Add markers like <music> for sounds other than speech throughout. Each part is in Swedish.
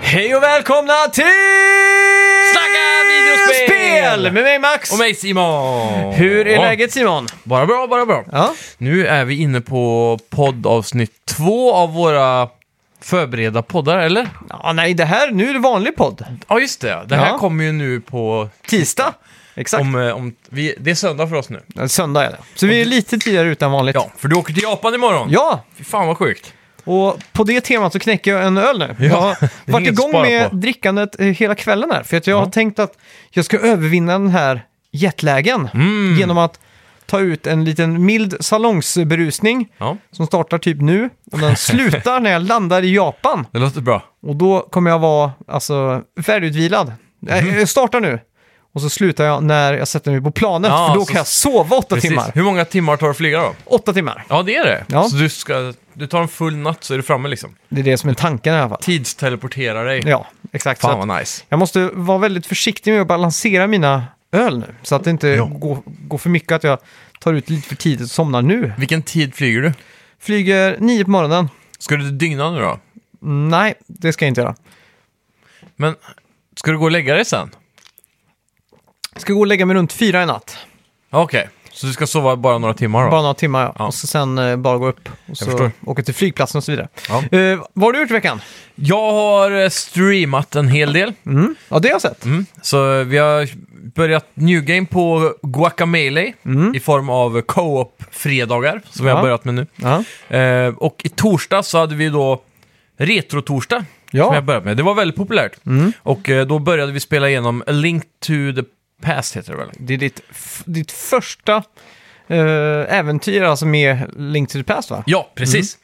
Hej och välkomna till Snacka videospel! Med mig Max! Och mig Simon! Hur är Ja, läget Simon? Bara bra, bara bra. Ja. Nu är vi inne på poddavsnitt två av våra förberedda poddar, eller? ja, nej det här, nu är det vanlig podd. Ja, just det. Det här Ja. kommer ju nu på... Tisdag. Exakt. Om, eh, om, vi, det är söndag för oss nu. Ja, Söndag är det. Så vi är lite tidigare utan vanligt. Ja, för du åker till Japan imorgon. Ja, Fy fan vad sjukt. och på det temat så knäcker jag en öl nu. jag har det är varit inget att igång spara med på. drickandet eh, hela kvällen här. För att jag Ja. har tänkt att jag ska övervinna den här jetlagen Mm. genom att ta ut en liten mild salongsberusning Ja, som startar typ nu och <laughs> den slutar när jag landar i Japan. det låter bra. Och då kommer jag vara alltså, färdigutvilad. Nej, Mhm. Jag startar nu och så slutar jag när jag sätter mig på planet Ja, för då så- kan jag sova åtta Precis. timmar. Hur många timmar tar det att flyga då? Åtta timmar, Ja, det är det. Ja. Så du, ska, du tar en full natt så är du framme liksom. det är det som är tanken i alla fall. Tidsteleporterar dig. Ja, exakt. Så Fan att vad nice. jag måste vara väldigt försiktig med att balansera mina öl nu så att det inte Ja. går, går för mycket att jag tar ut lite för tidigt och somnar nu. Vilken tid flyger du? Flyger nio på morgonen. Ska du dygna nu då? Nej, det ska jag inte göra. Men ska du gå och lägga dig sen? Ska gå och lägga mig runt fyra i natt. Ja, Okej, så du ska sova bara några timmar då? Bara några timmar, ja. Ja. Och så sen eh, bara gå upp och så förstår. åka till flygplatsen och så vidare. Ja. Eh, vad har du gjort i veckan? Jag har eh, streamat en hel del. Mm. Ja, det har jag sett. Mm. Så vi har börjat New Game på Guacamele i form av co-op-fredagar som Mm. vi Ja. har börjat med nu. Ja. Eh, och i torsdag så hade vi då Retro-torsdag som Ja. Mm. jag börjat med. Det var väldigt populärt. Och eh, då började vi spela igenom A Link to the Past heter det väl? Det är ditt, f- ditt första eh, äventyr alltså med Link to the Past, va? Ja, precis.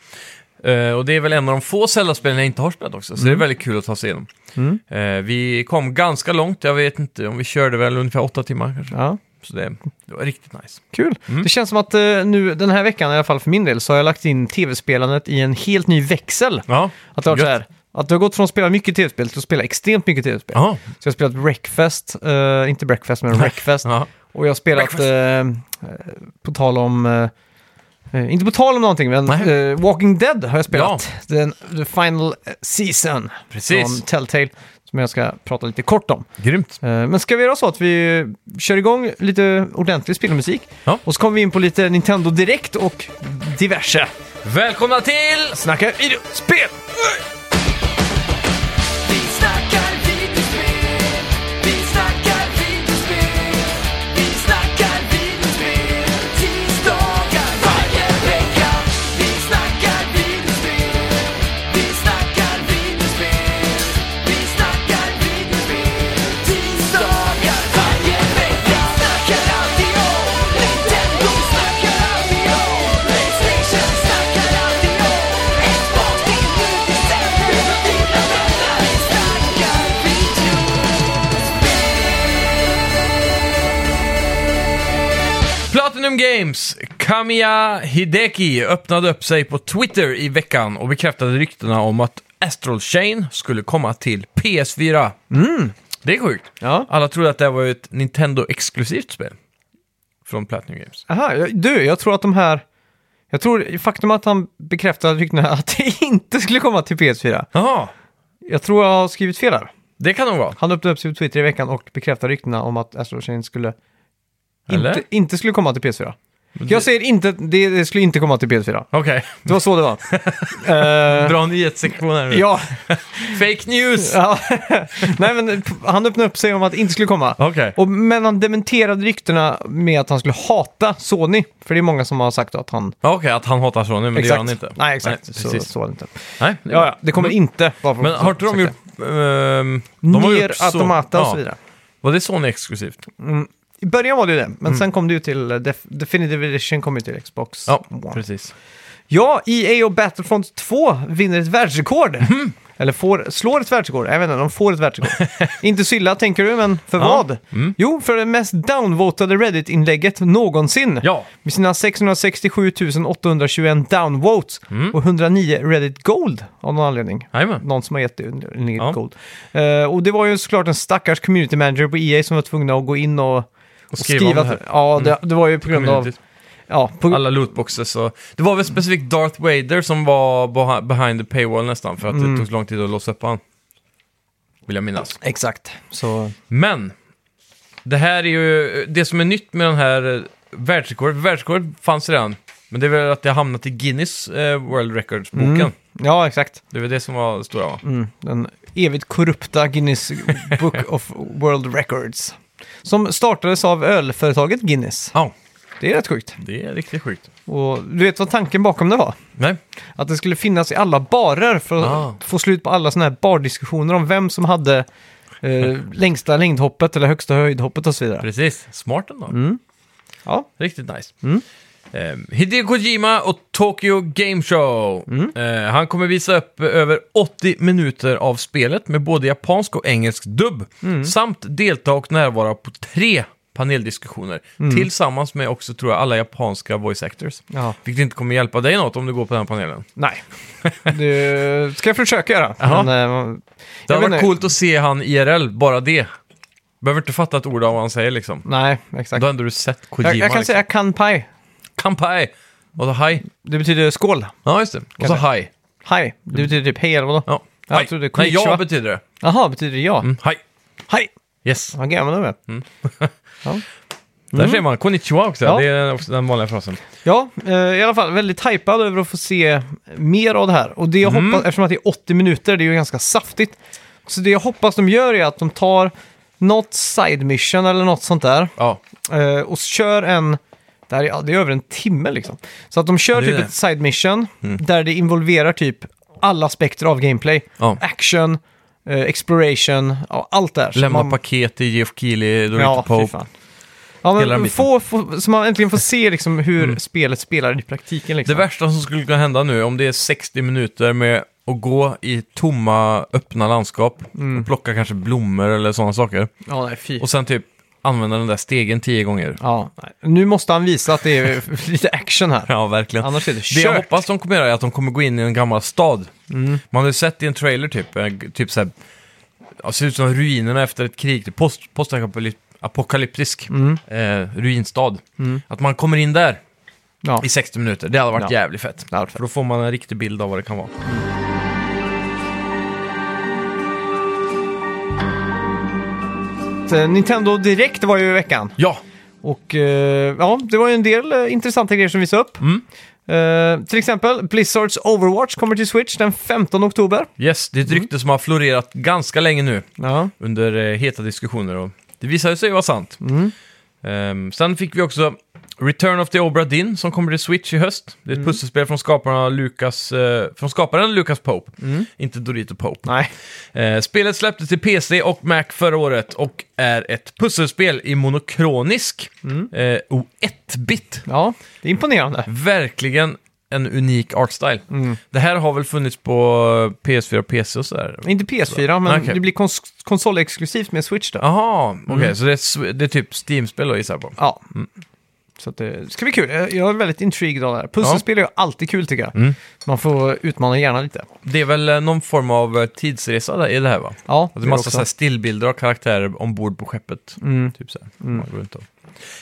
Mm. Eh, och det är väl en av de få Zelda-spelen jag inte har spelat också, så det är väldigt kul att ta sig igenom. Mm. Eh, vi kom ganska långt, jag vet inte om vi körde väl ungefär åtta timmar kanske. Ja, Så det, det var riktigt nice. kul. Mm. Det känns som att eh, nu den här veckan, i alla fall för min del, så har jag lagt in tv-spelandet i en helt ny växel. Ja, Att det har varit så Gött. här, att det har gått från att spela mycket tv-spel till att spela extremt mycket tv-spel. ja. Så jag har spelat Wreckfest, eh, inte Breakfast men Wreckfest. ja. Och jag har spelat, eh, eh, på tal om, eh, eh, inte på tal om någonting, men Nej. eh, Walking Dead har jag spelat. Den, the final season från Precis. Telltale, som jag ska prata lite kort om. Grymt. Eh, men ska vi göra så att vi kör igång lite ordentlig spelmusik? Ja. Och så kommer vi in på lite Nintendo Direkt och diverse. Välkomna till... Snacka videospel! Vi snackar videospel, vi snackar videospel, vi snackar videospel, tisdagar varje vecka. Vi snackar videospel, vi snackar videospel, vi snackar videospel, tisdagar varje vecka. Snackar alltid om Nintendo, snackar alltid om Playstation, snackar alltid om Xbox, din uteställd och dina vänner. Vi snackar video. Platinum Games, Kamiya Hideki öppnade upp sig på Twitter i veckan och bekräftade ryktena om att Astral Chain skulle komma till PS4. Det är sjukt. Ja. Alla trodde att det här var ett Nintendo-exklusivt spel. Från Platinum Games. Aha, jag- du, jag tror att de här... Jag tror faktum att han bekräftade ryktena att det <laughs> inte skulle komma till PS4. Jaha, Jag tror jag har skrivit fel här. det kan nog vara. Han öppnade upp sig på Twitter i veckan och bekräftade ryktena om att Astro Chain skulle Eller? inte, inte skulle komma till PS4. Jag säger inte, det, det skulle inte komma till PS4. Okej, <laughs> Det var så det var. Eh, dra nyhetssektion här nu. ja, Fake news! ja. <laughs> Nej men han öppnade upp sig om att det inte skulle komma. Okej. Och, men han dementerade ryktena med att han skulle hata Sony. För det är många som har sagt att han... Okej, att han hatar Sony, men det gör han inte. Nej, exakt. Nej, så, precis. så var det inte. Nej, det är Ja, bra. ja, det kommer inte vara Men har inte de gjort... ehm, de har Ner gjort så- Automata och ja. så vidare. Var det Sony exklusivt? I början var det ju det, men Mm. sen kom det ju till... eh, Def- Definitive Edition kom ju till Xbox. Ja, One. precis. Ja, EA och Battlefront 2 vinner ett världsrekord. Mhm. Eller får, slår ett världsrekord. Jag vet inte, de får ett världsrekord. <laughs> inte sylla tänker du, men för Ja. Mm. vad? Jo, för det mest downvotade Reddit-inlägget någonsin. Ja, Med sina 667 821 downvotes Mm. och 109 Reddit Gold av någon anledning. jajamän. Någon som har gett det en- en Reddit Ja. Gold. Eh, och det var ju såklart en stackars community E manager på EA som var tvungna att gå in och, och skriva om det här. Ja, det, det var ju typ på grund av Communityt. Ja, på, alla lootboxes. Och... Det var väl specifikt Darth Vader som var behi- behind the paywall nästan, för att Mm. det tog så lång tid att låsa upp han. Vill jag minnas. exakt. Så, Men, det här är ju det som är nytt med den här eh, världsrekordet. Världsrekordet fanns redan, men det är väl att det har hamnat i Guinness eh, World Records-boken. Mm. ja, exakt. Det var det som var det stora va? Mm, den evigt korrupta Guinness Book <laughs> of World Records. Som startades av ölföretaget Guinness. Ja, Det är rätt sjukt. det är riktigt sjukt. Och du vet vad tanken bakom det var? Nej, Att det skulle finnas i alla barer för att Ah. få slut på alla sådana här bardiskussioner om vem som hade <laughs> eh, längsta längdhoppet eller högsta höjdhoppet och så vidare. precis. Smart ändå. Ja, Riktigt nice. Eh, Hideo Kojima och Tokyo Game Show. Eh, han kommer visa upp över 80 minuter av spelet med både japansk och engelsk dubb. Samt delta och närvara på tre paneldiskussioner. Tillsammans med också, tror jag, alla japanska voice actors. ja. Vilket inte kommer hjälpa dig något om du går på den här panelen. nej. Det ska jag försöka göra. Jaha. Men, eh, jag Det hade vet varit inte. coolt att se han IRL, bara det. Behöver inte fatta ett ord av vad han säger liksom. Nej, exakt. Då har ändå du sett Kojima. jag, jag kan liksom. säga kanpai. Kampai! Och så haj. Det betyder skål. Ja, just det. Och så Kanske. haj. Hej. Det betyder typ hej eller vadå? Mm. Ja. Jag Haj. trodde Nej, konnichiwa. ja betyder det. Jaha, betyder det ja? Mm, haj. Hej! Yes. Okej, men då vet Där ser man konnichiwa också. Mm. Ja. Det är också den vanliga frasen. Ja, eh, i alla fall väldigt hypad över att få se mer av det här. Och det jag Mm. hoppas, eftersom att det är 80 minuter, det är ju ganska saftigt. Så det jag hoppas de gör är att de tar något side mission eller något sånt där Ja. eh, och kör en... Det, här, är- ja, det är över en timme liksom. Så att de kör Ja, det är typ det. Mm. ett side mission där det involverar typ alla aspekter av gameplay. ja. Action, eh, exploration, ja, allt där. Så Lämna man- paket till Jeff Keely, Dorito Ja, fy Pope. fan. Ja, Hela den men biten. få, Mm. få, så man äntligen får se liksom hur spelet spelar i praktiken. Det Liksom. värsta som skulle kunna hända nu, om det är 60 minuter med att gå i tomma, öppna landskap Mm. och plocka kanske blommor eller sådana saker. ja, nej, fy. Och sen typ använda den där stegen tio gånger. Ja, nej. Nu måste han visa att det är <laughs> lite action här. Ja, verkligen. Annars är det Det jag kört. Mm. hoppas de kommer göra är att de kommer gå in i en gammal stad. Man har ju sett i en trailer typ, eh, typ så här, ja, ser ut som ruinerna efter ett krig, typ post, postapokalyptisk Mm. eh, ruinstad. Att man kommer in där Ja. i 60 minuter, det hade varit Mm. Ja. jävligt fett. hade varit fett. För då får man en riktig bild av vad det kan vara. Eh, Nintendo Direkt var ju i veckan. Ja, Och eh, ja, det var ju en del eh, intressanta grejer som visade upp. Mm. Eh, till exempel Blizzards Overwatch kommer till Switch den 15 oktober. yes, det är ett Mm. rykte som har florerat ganska länge nu Ja. under eh, heta diskussioner och det visade sig vara sant. Ehm, sen fick vi också Return of the Obra Dinn som kommer till Switch i höst. Det är ett pusselspel från, skaparna Lucas, eh, från skaparen Lucas Pope, inte Dorito Pope. Nej. Eh, spelet släpptes till PC och Mac förra året och är ett pusselspel i monokronisk eh, och 1-bit. Ja, det är imponerande. Verkligen en unik artstyle. Det här har väl funnits på PS4 och PC och sådär? Inte PS4, men Okej. det blir kons- konsolexklusivt med Switch då. Jaha, okej, så det är, sw- det är typ Steam-spel då gissar jag på. Ja. Mm. Så att eh, det ska bli kul. Jag jag är väldigt intrigued av det här. Pusselspel är ju alltid kul tycker jag. Mm. Man får utmana hjärnan lite. Det är väl eh, någon form av eh, tidsresa där, i det här va? Ja, Att det det är massa också. så här stillbilder av karaktärer ombord på skeppet. Typ så här. Man går runt och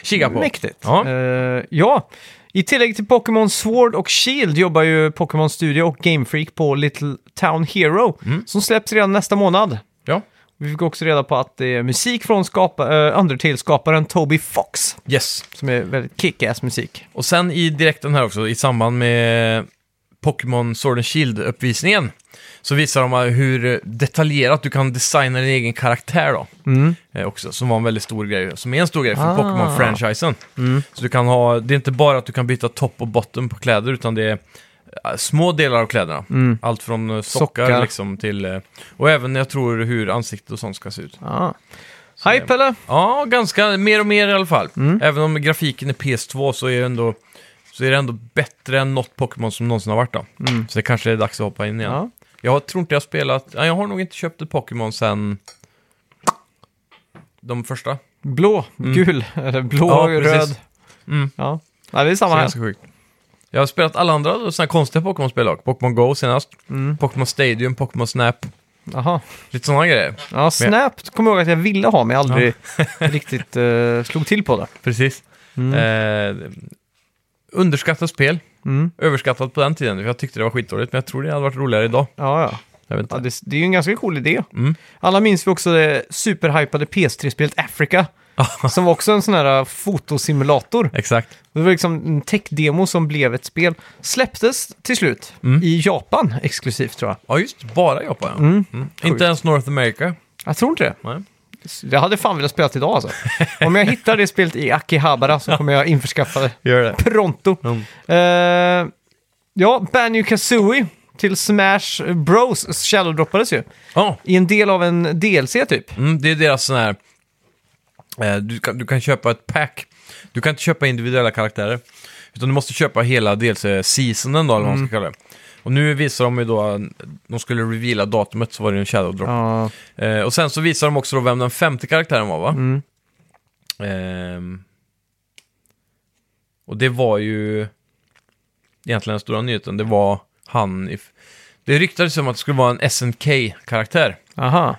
kikar på. Mäktigt. Ja. Eh, ja. I tillägg till Pokémon Sword och Shield jobbar ju Pokémon Studio och Game Freak på Little Town Hero som släpps redan nästa månad. Mm. ja. Vi fick också reda på att det är musik från skapa, eh, Undertale-skaparen Toby Fox Yes. som är väldigt kick-ass musik. Och sen i direkten här också, i samband med Pokémon Sword and Shield-uppvisningen, så visar de här hur detaljerat du kan designa din egen karaktär då. Eh, också, som var en väldigt stor grej, som är en stor grej för Ah. Mm. Pokémon-franchisen. Så du kan ha, det är inte bara att du kan byta topp och botten på kläder, utan det är eh, små delar av kläderna. Allt från eh, sockar, Mm. Sockar. liksom till... eh, Och även jag tror hur ansiktet och sånt ska se ut. Ah. Hype eller? Ja, ganska. Mer och mer i alla fall. Mm. Även om grafiken är PS2 så är det ändå, så är det ändå bättre än något Pokémon som någonsin har varit. Då. Så det kanske är dags att hoppa in igen. Mm. Ja. Jag tror inte jag har spelat... ja, Jag har nog inte köpt ett Pokémon sen... De första. Blå, gul, <laughs> eller blå, Mm. Ja, precis. röd. Mm. Ja. Nej, det är Så samma här. ganska sjukt. Jag har spelat alla andra sådana konstiga Pokémon-spel också. Pokémon Go senast. Pokémon Stadium, Pokémon Snap. Aha. Lite sådana grejer. Ja, Snap kommer jag ihåg att jag ville ha, men jag <laughs> aldrig riktigt eh, slog till på det. Precis. Mm. Eh, underskattat spel. Mm. Överskattat på den tiden, för jag tyckte det var skitdåligt. Men jag tror det hade varit roligare idag. Ja, ja. Jag vet inte. Ja, det, det är ju en ganska cool idé. Alla minns vi också det superhypade PS3-spelet Africa. som var också en sån här äh, fotosimulator. Exakt. Det var liksom en tech-demo som blev ett spel. Släpptes till slut i Japan exklusivt tror jag. Ja, just Bara Japan, ja. Mm. Inte ens North America. Jag tror inte det. Nej. Jag hade fan velat spela idag alltså. Om jag hittar det spelet i Akihabara så kommer jag införskaffa det Gör det. pronto. Mm. Eh, ja, Banjo Kazooie till Smash Bros. shadowdroppades ju. Ja, I en del av en DLC typ. mm, det är deras sån här... Eh, du, kan, du kan köpa ett pack. Du kan inte köpa individuella karaktärer. Utan du måste köpa hela dels eh, seasonen då, eller vad man ska kalla det. Och nu visar de ju då, de skulle reveala datumet så var det en shadow drop. Ja, Eh, och sen så visar de också då vem den femte karaktären var va? Ehm. och det var ju egentligen den stora nyheten. Det var han i... Det ryktades om att det skulle vara en SNK-karaktär. aha.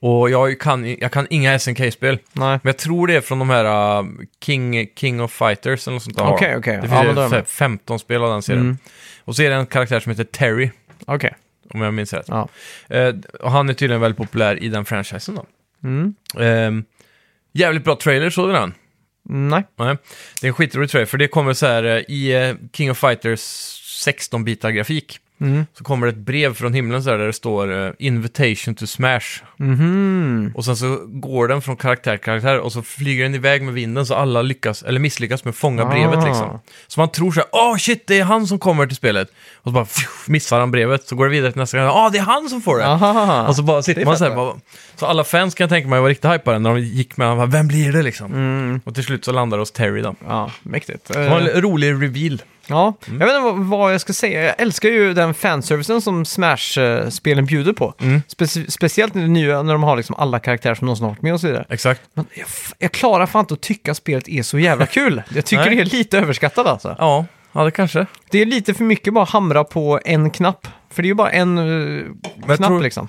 Och jag kan, jag kan inga SNK-spel. Nej. Men jag tror det är från de här uh, King, King of Fighters eller något sånt där. Okej, okej. Det Ja, men finns då är jag ju med. f- 15 spel av den serien. Mm. Och så är det en karaktär som heter Terry, Okej. om jag minns rätt. Ja. Eh, och han är tydligen väldigt populär i den franchisen då. Mm. Ehm, jävligt bra trailer, såg du den? Nej. Nej, det är en skitrolig trailer, för det kommer så här eh, i eh, King of Fighters 16-bitar grafik. Mm. Så kommer det ett brev från himlen så här, där det står eh, Invitation to Smash. Mhm. Och sen så går den från karaktär till karaktär och så flyger den iväg med vinden så alla lyckas, eller misslyckas med att fånga brevet Ah. liksom. Så man tror så här, åh shit, det är han som kommer till spelet. Och så bara pff, missar han brevet, så går det vidare till nästa karaktär, åh det är han som får det. Aha. Och så bara sitter Det är man fett, så här, va? bara, så alla fans kan jag tänka mig var riktigt hypade när de gick med, bara, vem blir det liksom? Mm. Och till slut så landar det hos Terry då. ja, mäktigt. Det var Eh, en rolig reveal. Ja, Mm. jag vet inte vad- vad jag ska säga. Jag älskar ju den fanservicen som Smash-spelen bjuder på. Mm. Speci- speciellt i det nya när de har liksom alla karaktärer som någonsin har varit med och så vidare. Exakt. Men jag, f- jag klarar fan inte att tycka att spelet är så jävla <laughs> kul. Jag tycker Nej. det är lite överskattat alltså. Ja, ja det kanske. Det är lite för mycket bara hamra på en knapp. För det är ju bara en eh, jag knapp tror- liksom.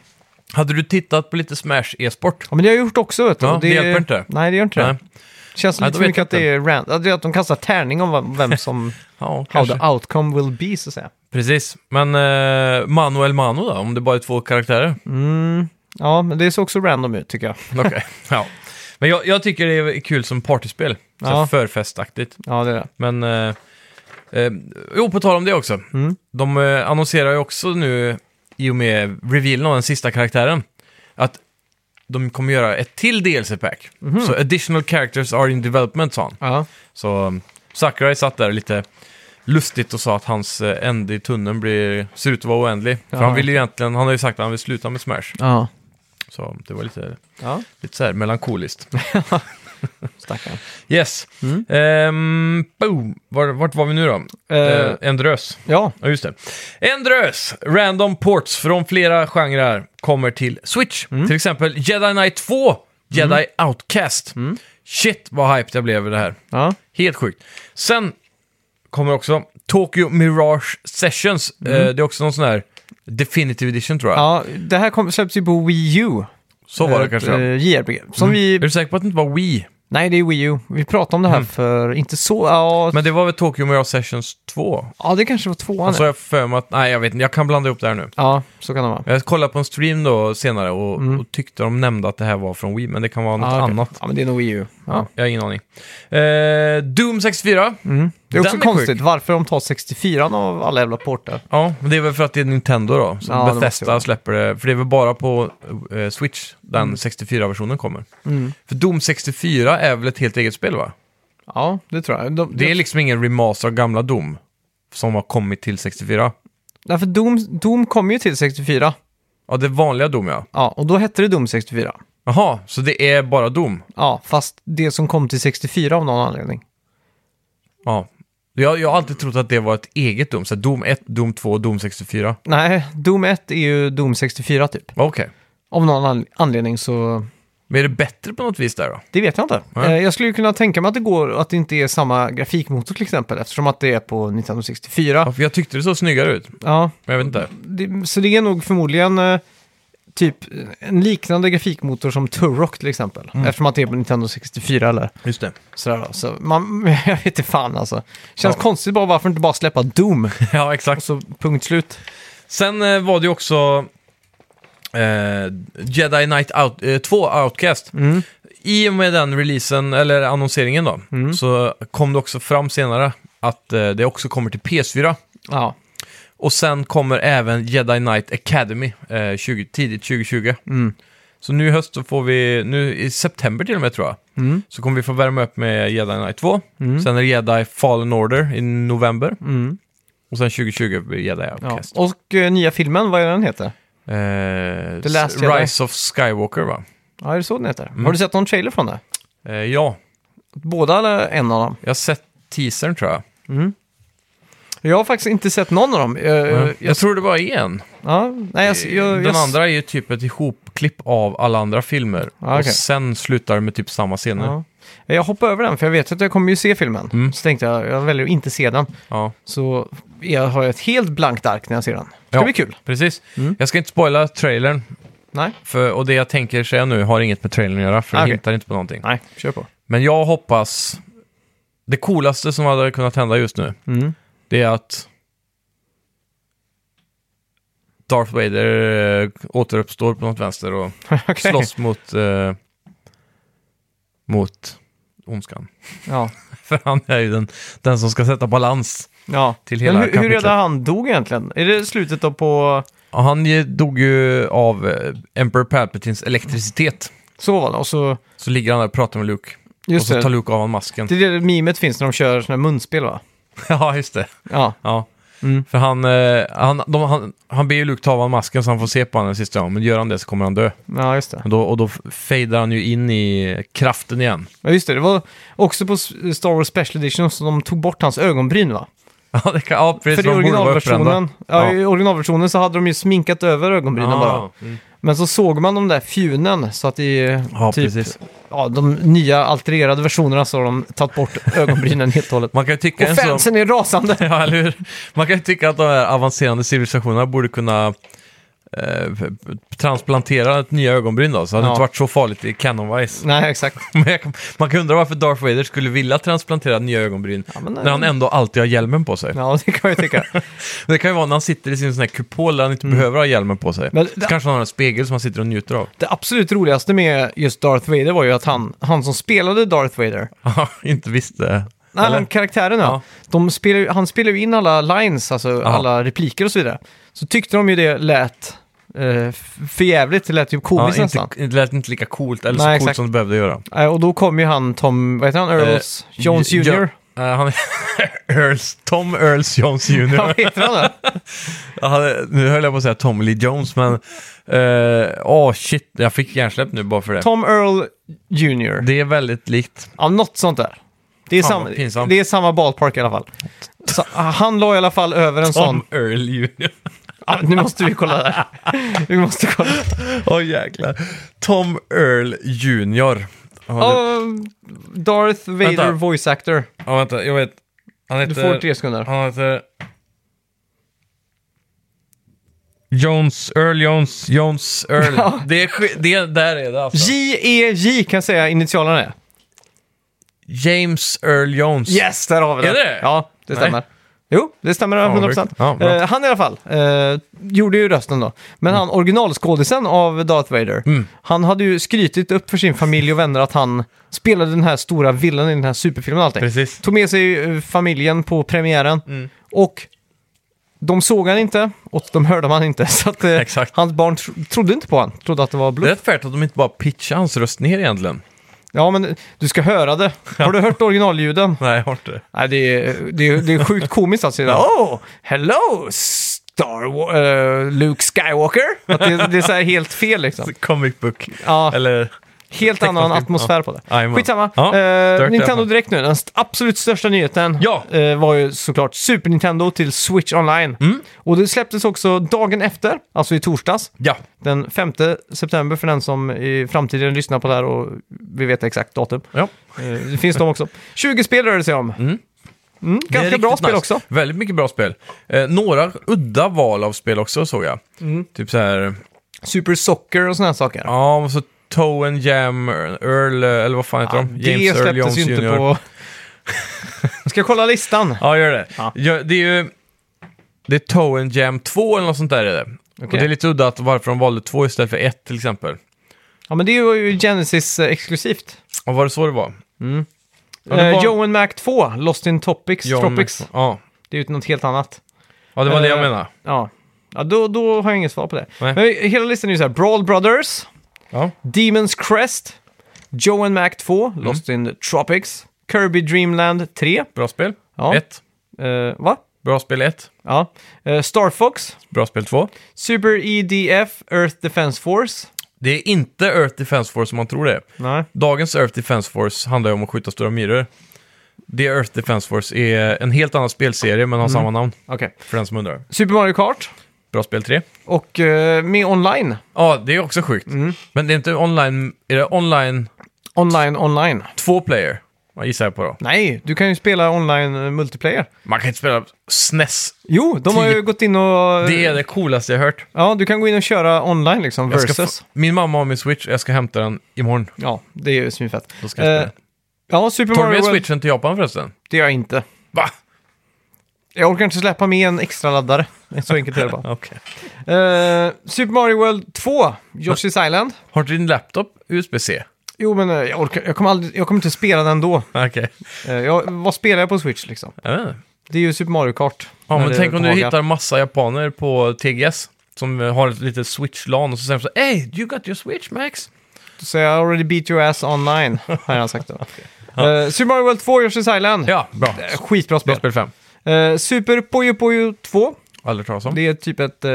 Hade du tittat på lite Smash e-sport? Ja, men det har jag gjort också vet du. Ja, Och det hjälper inte. Nej, det gör inte Nej. det. Känns Nej, lite då för vet mycket jag att det är random. Att de kastar tärning om vem- <laughs> vem som... Ja, how kanske. the outcome will be, så att säga. Precis. Men eh, Manuel Mano då, om det bara är två karaktärer? Mm. Ja, men det såg också random ut tycker jag. Okej. ja. Men jag, jag tycker det är kul som partyspel. Så här Ja. Förfestaktigt. Ja, det är det. Men... Eh, eh, jo, på tal om det också. De eh, annonserar ju också nu, i och med revealen av den sista karaktären, att de kommer göra ett till DLC-pack. Så additional characters are in development, sa han. Ja. Så um, Sakurai satt där lite lustigt och sa att hans eh, ände i tunneln blir, ser ut att vara oändlig. För Jaha. han vill ju egentligen, han har ju sagt att han vill sluta med Smash. Ja. Så det var lite, Ja, lite så här melankoliskt. <laughs> stackarn. Yes. Ehm, boom. Var, vart var vi nu då? Eh, Eh, en drös. Ja, Ja, just det. En drös random ports från flera genrer kommer till Switch. Till exempel Jedi Knight 2, Jedi Outcast. Shit vad hyped jag blev över det här. ja. Helt sjukt. Sen kommer också Tokyo Mirage Sessions. Eh, det är också någon sån här Definitive Edition tror jag. Mm. ja det här kom, släpps ju på Wii U. Så var det Ett, kanske. ja. Mm. eh, JRPG. Som Är du vi... säker på att det inte var Wii? Nej, det är Wii U. Vi pratade om det här för inte så... Ja, Men det var väl Tokyo Mirage Sessions 2? ja det kanske var tvåan. Och så ja. har jag för mig att, nej jag vet inte, jag kan blanda ihop det här nu. Ja, så kan det vara. Jag kollade på en stream då senare och, och tyckte de nämnde att det här var från Wii, men det kan vara något ja, Mm. Ah, okej. annat. Ja, men det är nog Wii U. Ja. Ja, jag har ingen aning. Eh, Doom 64. Mm. Det är också Den är konstigt sjuk. varför de tar 64 av alla jävla portar. Ja, men det är väl för att det är Nintendo då. Så Ja, det måste det Bethesda vara. Mm. släpper det. För det är väl bara på eh, Switch den 64-versionen kommer. För Doom 64 är väl ett helt eget spel va? Ja, det tror jag. De, Det är liksom ingen remaster av gamla Doom som har kommit till 64. Därför Doom, Doom kom ju till 64. Ja, det är vanliga Doom ja. Ja, och då hette det Doom 64. Jaha, så det är bara Doom? Ja, fast det som kom till 64 av någon anledning. Ja. Jag, jag har alltid trott att det var ett eget Doom. Så Doom 1, Doom 2 och Doom 64. Nej, Doom 1 är ju Doom 64 typ. Okej. Av någon an- anledning så Men är det bättre på något vis där då? Det vet jag inte. Nej. Eh, Jag skulle ju kunna tänka mig att det går att det inte är samma grafikmotor till exempel, eftersom att det är på Nintendo 64. Ja, för jag tyckte det såg snyggare ut. Ja, Men jag vet inte. det, så det är nog förmodligen eh, typ en liknande grafikmotor som Turok till exempel. Mm. Eftersom att det är på Nintendo 64 eller Just det. sådär då. Så man, <laughs> jag vet inte fan alltså. Känns Ja. konstigt bara varför inte bara släppa Doom. <laughs> Ja, exakt. Så punkt slut. Sen eh, var det ju också eh, Jedi Knight Out, eh, 2 Outcast. I och med den releasen, eller annonseringen då, så kom det också fram senare att eh, det också kommer till PS4. Ja. Och sen kommer även Jedi Knight Academy eh, 20, tidigt 2020. Så nu i höst så får vi, nu i september till och med tror jag, Mm. så kommer vi få värma upp med Jedi Knight 2. Sen är det Jedi Fallen Order i november. Och sen 2020 blir Jedi Mm. Ja. Outcast. Och eh, nya filmen, vad är den heter? Eh, The Last s- Jedi. Rise of Skywalker va? Ja, är det så den heter? Mm. Har du sett någon trailer från det? Eh, ja, Båda eller en av dem? jag har sett teasern tror jag. Mm. Jag har faktiskt inte sett någon av dem. Jag, Jag, jag, tror det var en. ja, nej, jag, jag, Den jag, Mm. andra är ju typ ett ihopklipp av alla andra filmer. Ah, Och okej. Ah. sen slutar det med typ samma scener. Ja. Ja. Jag hoppar över den, för jag vet att jag kommer ju se filmen. Mm. Så tänkte jag, jag väljer att inte se den. Så jag har ett helt blankt ark när jag ser den. Det ska Ja. bli kul. Precis. Mm. Jag ska inte spoila trailern. Nej? För, och det jag tänker säga nu har inget med trailern att göra, för Ah, det okej. hintar inte på någonting. Nej, kör på. Men jag hoppas... Det coolaste som hade kunnat hända just nu, Mm. det är att Darth Vader eh, återuppstår på något vänster och <laughs> Okej. slåss mot... Eh, mot ondskan. <laughs> Ja. För han är ju den, den som ska sätta balans. ja. Till hela Men hur, hur kapitlet. redan han dog egentligen? Är det slutet då på... Och han eh, dog ju av eh, Emperor Palpatines elektricitet. Så var det, och så... Så ligger han där och pratar med Luke. och Just så det. tar Luke av honom masken. Det är det mimet finns när de kör såna här munspel va? <laughs> ja, just det. Ja. Ja. Mm. För han, eh, han, de, han, han ber ju Luke ta av honom masken så han får se på honom den sista gången. Men gör han det så kommer han dö. Ja, just det. Och då, och då fejdar han ju in i kraften igen. <laughs> Ja, just det. Det var också på S- Star Wars Special Edition som de tog bort hans ögonbryn va? ja, det kan, ja, precis. För i de borde vara uppbrända. originalversionen, ja, Ja. i originalversionen så hade de ju sminkat över ögonbrynen bara. Ah, mm. Men så såg man de där fjunen så att i eh, Ja, typ, precis. ja, de nya altererade versionerna så har de tagit bort ögonbrynen helt och <laughs> hållet. Man kan ju tycka en Och sån... fansen är rasande! Ja, eller hur? Man kan ju tycka att de här avancerade civilisationerna borde kunna eh, transplantera ett nya ögonbryn då, så hade det Ja. inte varit så farligt i <laughs> Canonwise. <laughs> Nej, exakt. Men jag kan- Man kan undra varför Darth Vader skulle vilja transplantera nya ögonbryn men, eh, när han ändå alltid har hjälmen på sig. Ja, det kan jag ju tycka. Det kan ju vara när han sitter i sin sån här kupol där han inte behöver ha hjälmen på sig. Mm. Men Så det- kanske han har en spegel som han sitter och njuter av. <laughs> Det absolut roligaste med just Darth Vader var ju att han, han som spelade Darth Vader, Ja, inte eh. visste. Nej, Eller? men karaktären ja. Ja. De spelar, ju- han spelar ju in alla lines, alltså alla repliker och så vidare. Så tyckte de ju det lät eh, förjävligt, det lät ju Ja, komiskt inte, nästan. det lät inte lika coolt, eller så Nej, coolt exakt. som det behövde göra. Eh, och då kom ju han Tom, vad heter han, Earls Eh, Jones Jo- Jr. Jo- Eh, han <laughs> Earls, Tom Earls Jones Jr. <laughs> <laughs> Ja, vad heter han det? <laughs> Ja, nu höll jag på att säga Tommy Lee Jones, men... eh, Åh, shit. Jag fick hjärnsläpp nu bara för det. Tom Earl Jr. Det är väldigt likt. Ja, något sånt där. Det är, Fan, samma, vad pinsamt. det är samma ballpark i alla fall. Så, ah, han la i alla fall över en sån... Tom Earl Jr. Ah, nu måste vi kolla där. Vi måste kolla. <laughs> Åh, jäklar. Tom Earl Jr. Ja, det- Ah, Darth Vader Vänta. voice actor. ja, vänta. Jag vet. Han Du heter... får tre sekunder. Han heter... Jones, Earl Jones, Jones, Earl. Ja. Det är, sk- det, där är det alltså. J-E-J E kan jag säga initialerna är. James Earl Jones. Yes, där har vi det. Är det? Ja, det Nej. stämmer. Jo, det stämmer vad 100%. sjukt. Ja, bra. Mm. Eh, han i alla fall eh, gjorde ju rösten då. Men han originalskådisen av Darth Vader, han hade ju skrytit upp för sin familj och vänner att han spelade den här stora villan i den här superfilmen och allting. Precis. Mm. Tog med sig eh, familjen på premiären och de såg han inte och de hörde han inte. <laughs> Så att eh, Exakt. hans barn tro- trodde inte på han, trodde att det var Det är bluff. rätt färdigt att de inte bara pitchar hans röst ner egentligen. Ja, men du ska höra det. Har du hört originalljuden? Nej, jag har inte. Nej, det är, det är, det är sjukt komiskt alltså. Det är, oh, hello Star Wa- eh, Luke Skywalker. Att det, det är så här helt fel liksom. Comic book. Ja, Eller... helt annan tecknat film. atmosfär på det. Jajamän. Skitsamma. Ja, Eh, direkt i alla Nintendo fall. direkt nu. Den st- absolut största nyheten Ja. eh, var ju såklart Super Nintendo till Switch Online. Och det släpptes också dagen efter, alltså i torsdags. Ja, Den 5 september för den som i framtiden lyssnar på det här och vill veta exakt datum. ja. Eh, Det finns de <laughs> också. 20 spel rör det sig om. Mm. Det är ganska riktigt bra spel nice. också. Mm. Väldigt mycket bra spel. Eh, några udda val av spel också såg jag. Typ så här Super Soccer och såna här saker. Ja, och så Toe and Jam, Earl, eller vad fan heter Ja, de? det Earl släpptes ju inte på... <laughs> Ska jag kolla listan? Ja, gör det. Ja. Ja, det är ju... Det är Toe and Jam 2 eller något sånt där är det. Och Okej. det är lite udda att varför de valde 2 istället för 1 till exempel. Ja, men det var ju Genesis eh, exklusivt. Och var det så det var? Ja, det Eh, var- Joe and Mac 2, Lost in Topics, John- Tropics. Ja. Det är ju något helt annat. ja, det var det jag Eh, menade. Ja, ja då, då har jag inget svar på det. Nej. Men hela listan är ju så här, Brawl Brothers, Ja. Demons Crest, Joe and Mac 2, Mm. Lost in Tropics, Kirby Dreamland 3. Bra spel. Ja. 1. Eh, va? Bra spel 1. Ja. Eh, Star Fox, Bra spel 2. Super EDF, Earth Defense Force. Det är inte Earth Defense Force som man tror det är. Nej. Dagens Earth Defense Force handlar ju om att skjuta stora myror. Det Earth Defense Force är en helt annan spelserie men har Mm. samma namn. Okej. För den som undrar. Super Mario Kart Bra spel 3. och eh, med online. Ja, det är också sjukt. Men det är inte online... Är det online Online, online. två player? Vad gissar jag på då? Nej, du kan ju spela online eh, multiplayer. Man kan inte spela E SNES. Jo, de har ju Tio- gått in och... eh, Det är det coolaste jag hört. Ja, du kan gå in och köra online liksom, Jag ska versus. få- Min mamma har min Switch och jag ska hämta den imorgon. Ja, det är ju svinfett. Då ska jag spela. Eh, ja, Super Tar du Mario med World, Switchen till Japan förresten? det gör jag inte. Va? Jag orkar inte släppa med en extra laddare. <laughs> Så enkelt är det bara. Okej. Eh, Super Mario World 2, Yoshi's Island. Har du din laptop USB-C? Jo, men eh, jag, orkar, jag, kommer aldrig, jag kommer inte spela den då. Okej. Eh, jag, vad spelar jag på Switch liksom? Jag vet inte. Det är ju Super Mario Kart. Ja, När men det tänk om du behagar. hittar massa japaner på TGS som har ett litet switch-lan och så säger de så här, Hey, you got your switch Max? Så jag already beat your ass <laughs> online, har jag sagt då. Eh, Super Mario World 2, Yoshi's Island. Ja, bra. Eh, Skitbra Bra spel. spel 5. Eh, Super Puyo Puyo 2. Aldrig talas om. Det är typ ett eh,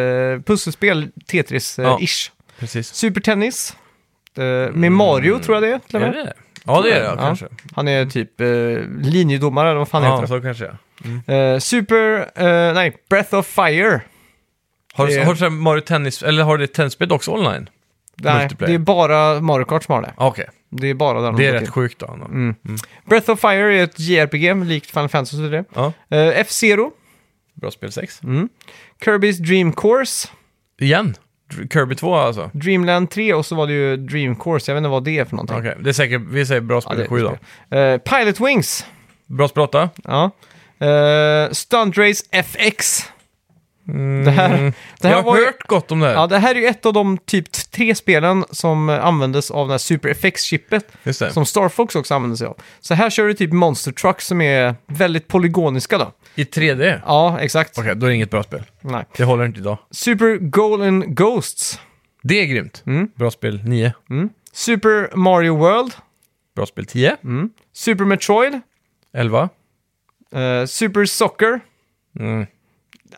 pusselspel, Tetris-ish. Precis. Super Tennis. eh, med Mario tror jag det är, till och Mm. Är med. det det? Ja, det är det Ja. kanske. Han är typ eh, linjedomare, eller vad fan Ja, heter så kanske jag. det? Eh, super... eh, nej, Breath of Fire. Har Det du, är- har du så här Mario Tennis, eller har du tennisspel också online? Mm, Nej, Multiplayer. det är bara Mario Kart som har det. Ja, Okej, Det är bara den det de är har rätt till. sjukt då. ändå. Mm. Breath of Fire är ett JRPG, likt Final Fantasy och det. Ja, Uh, F-Zero. bra spel 6. Kirby's Dream Course, Igen? Dr- Kirby 2 alltså? Dreamland 3 och så var det ju Dream Course, jag vet inte vad det är för någonting. Okej, det är säkert, vi säger bra spel det är 7 då. ett spel. Eh, Pilot Wings, Bra spel 8? ja. Eh, Stunt Race FX. Det här, det här Jag var har ju, hört gott om det här. ja, det här är ju ett av de typ t- tre spelen som eh, användes av det här Super FX-chippet Just det. som Star Fox också använde sig av. Så här kör du typ Monster Trucks som är väldigt polygoniska då. I 3D? Okej, Ja, exakt. då är det inget bra spel. Nej. Det håller inte idag. Super Golden Ghosts, Det är grymt. Mm. Bra spel 9. Super Mario World, Bra spel 10. Mm. Super Metroid, 11. Eh, Super Soccer. Mm.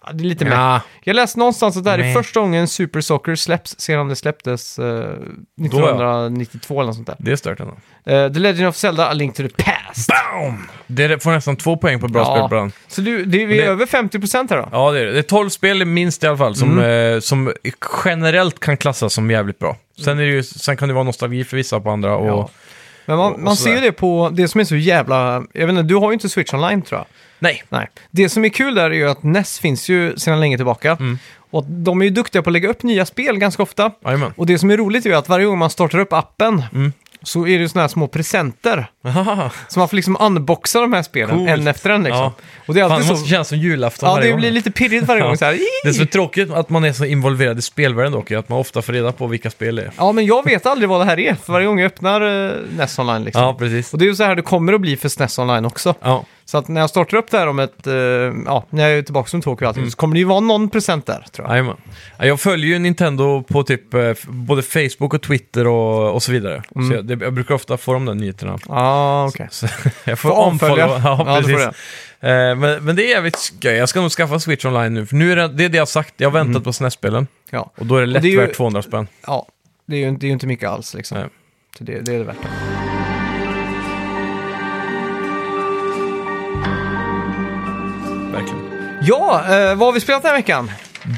Ja, det är lite mer. Ja, Jag läste någonstans att det här är Meh. första gången Super Soccer släpps sedan det släpptes eh, 1992 eller något sånt där. det är stört ändå. Eh, the Legend of Zelda, A Link to the Past. Boom! Det är- får nästan två poäng på bra Ja. spel ibland. Så du, det, vi är Det- över 50% här då. Ja, det är det. Det är 12 spel minst i alla fall som, Mm. eh, som generellt kan klassas som jävligt bra. Sen, är det ju, sen kan det vara nostalgi för vissa på andra. Och, Ja. Men och man, man ser sådär. ju det på det som är så jävla... Jag vet inte, du har ju inte Switch Online tror jag. Nej, Nej. Det som är kul där är ju att NES finns ju sedan länge tillbaka. Mm. Och de är ju duktiga på att lägga upp nya spel ganska ofta. jajamän. Och det som är roligt är ju att varje gång man startar upp appen Mm. så är det ju sådana här små presenter. Ahaha. Så man får liksom unboxa de här spelen Coolt. en efter en liksom. Ja. Och det är Fan, det alltid måste så... kännas som julafton Ja, varje det gång. blir lite pirrigt <laughs> varje gång så här. Det är så "Ii!" tråkigt att man är så involverad i spelvärlden dock, att man ofta får reda på vilka spel det är. Ja, men jag vet aldrig vad det här är, för varje gång jag öppnar uh, NES Online liksom. Ja, precis. Och det är ju så här det kommer att bli för SNES Online också. Ja, Så att när jag startar upp det här om ett, eh, ja, när jag är tillbaka som Tokyo och Mm. allting, så kommer det ju vara någon present där tror jag. jajamän. Ja, Jag följer ju Nintendo på typ eh, f- både Facebook och Twitter och, och så vidare. Mm. Så jag, det, jag brukar ofta få de där nyheterna. Ja, ah, okej. Så <laughs> jag får Får omfölja. avfölja. Ja, Ja, då får precis. Eh, men, men det är jävligt skoj. Jag ska nog skaffa Switch online nu. För nu är det, det är det jag har sagt. Jag har väntat på SNES-spelen. Ja. Mm. Och då är det lätt det är ju- värt 200 spänn. ja, det är ju inte, det är ju inte mycket alls liksom. Nej. Så det, det är det värt. Verkligen. Ja, eh, vad har vi spelat den här veckan?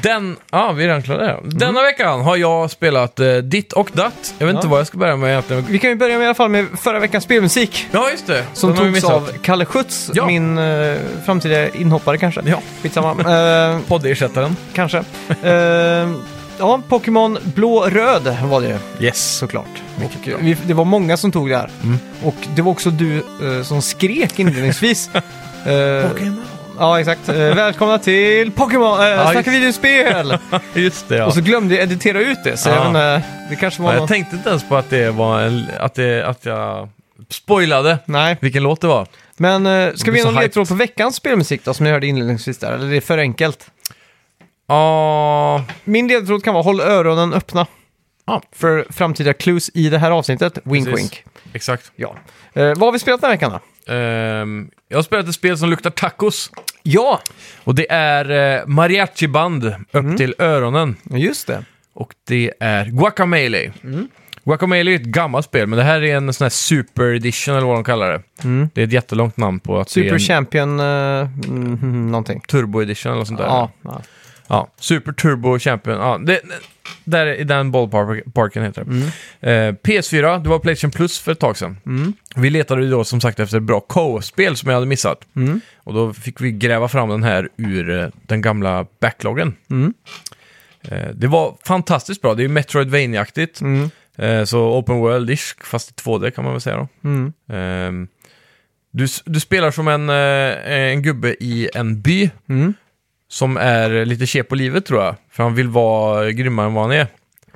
Den... Ja, ah, vi är redan klara där. Denna veckan har jag spelat eh, ditt och datt. Jag vet inte vad jag ska börja med egentligen. Vi kan ju börja med i alla fall med förra veckans spelmusik. Ja, just det. Som Den har vi togs missat. av Kalle Schütz, Ja. min uh, <laughs> framtida inhoppare kanske. Ja. Skitsamma. Eh, <laughs> Poddersättaren. kanske. Eh, ja, Pokémon Blå-Röd var det ju, Yes. såklart. Och, eh, vi, det var många som tog det här. Mm. Och det var också du eh, som skrek <laughs> inledningsvis. Eh, ja, exakt. Eh, välkomna till Pokémon! Uh, Ja, snacka just- videospel! Just det, <laughs> ja. Och så glömde jag editera ut det, så Ja. jag vet inte, det kanske var Ja, någon... jag tänkte inte ens på att det var en, att, det, att jag spoilade Nej, vilken låt det var. men eh, ska blir vi ge så någon hyped. ledtråd på veckans spelmusik då, som ni hörde inledningsvis där? Eller det är för enkelt? Ja, Min ledtråd kan vara håll öronen öppna. Ja. För framtida clues i det här avsnittet. Wink Precis. wink. exakt. Ja. Eh, vad har vi spelat den här veckan då? Ehm, jag har spelat ett spel som luktar tacos. Ja, Och det är eh, mariachiband upp Mhm. till öronen. just det. Och det är Guacamele. Mm. Guacamele är ett gammalt spel, men det här är en sån här super edition eller vad de kallar det. Mm. Det är ett jättelångt namn på att det Super är en Champion eh, mm, mm, någonting. turbo edition eller sånt där. Ja, ja. Ja, Super Turbo Champion. Ja, det, där i den ballparken heter det. Mm. Eh, PS4, det var Playstation Plus för ett tag sedan. Vi letade ju då som sagt efter ett bra co-spel som jag hade missat. Mm. Och då fick vi gräva fram den här ur eh, den gamla backloggen. Mm. Eh, det var fantastiskt bra, det är ju Metroidvania-aktigt. Mm. Eh, så Open World-ish, fast i 2D kan man väl säga då. Mm. Ehm, du, s- du spelar som en, eh, en gubbe i en by Mm. som är lite tje på livet tror jag. För han vill vara grymmare än vad han är.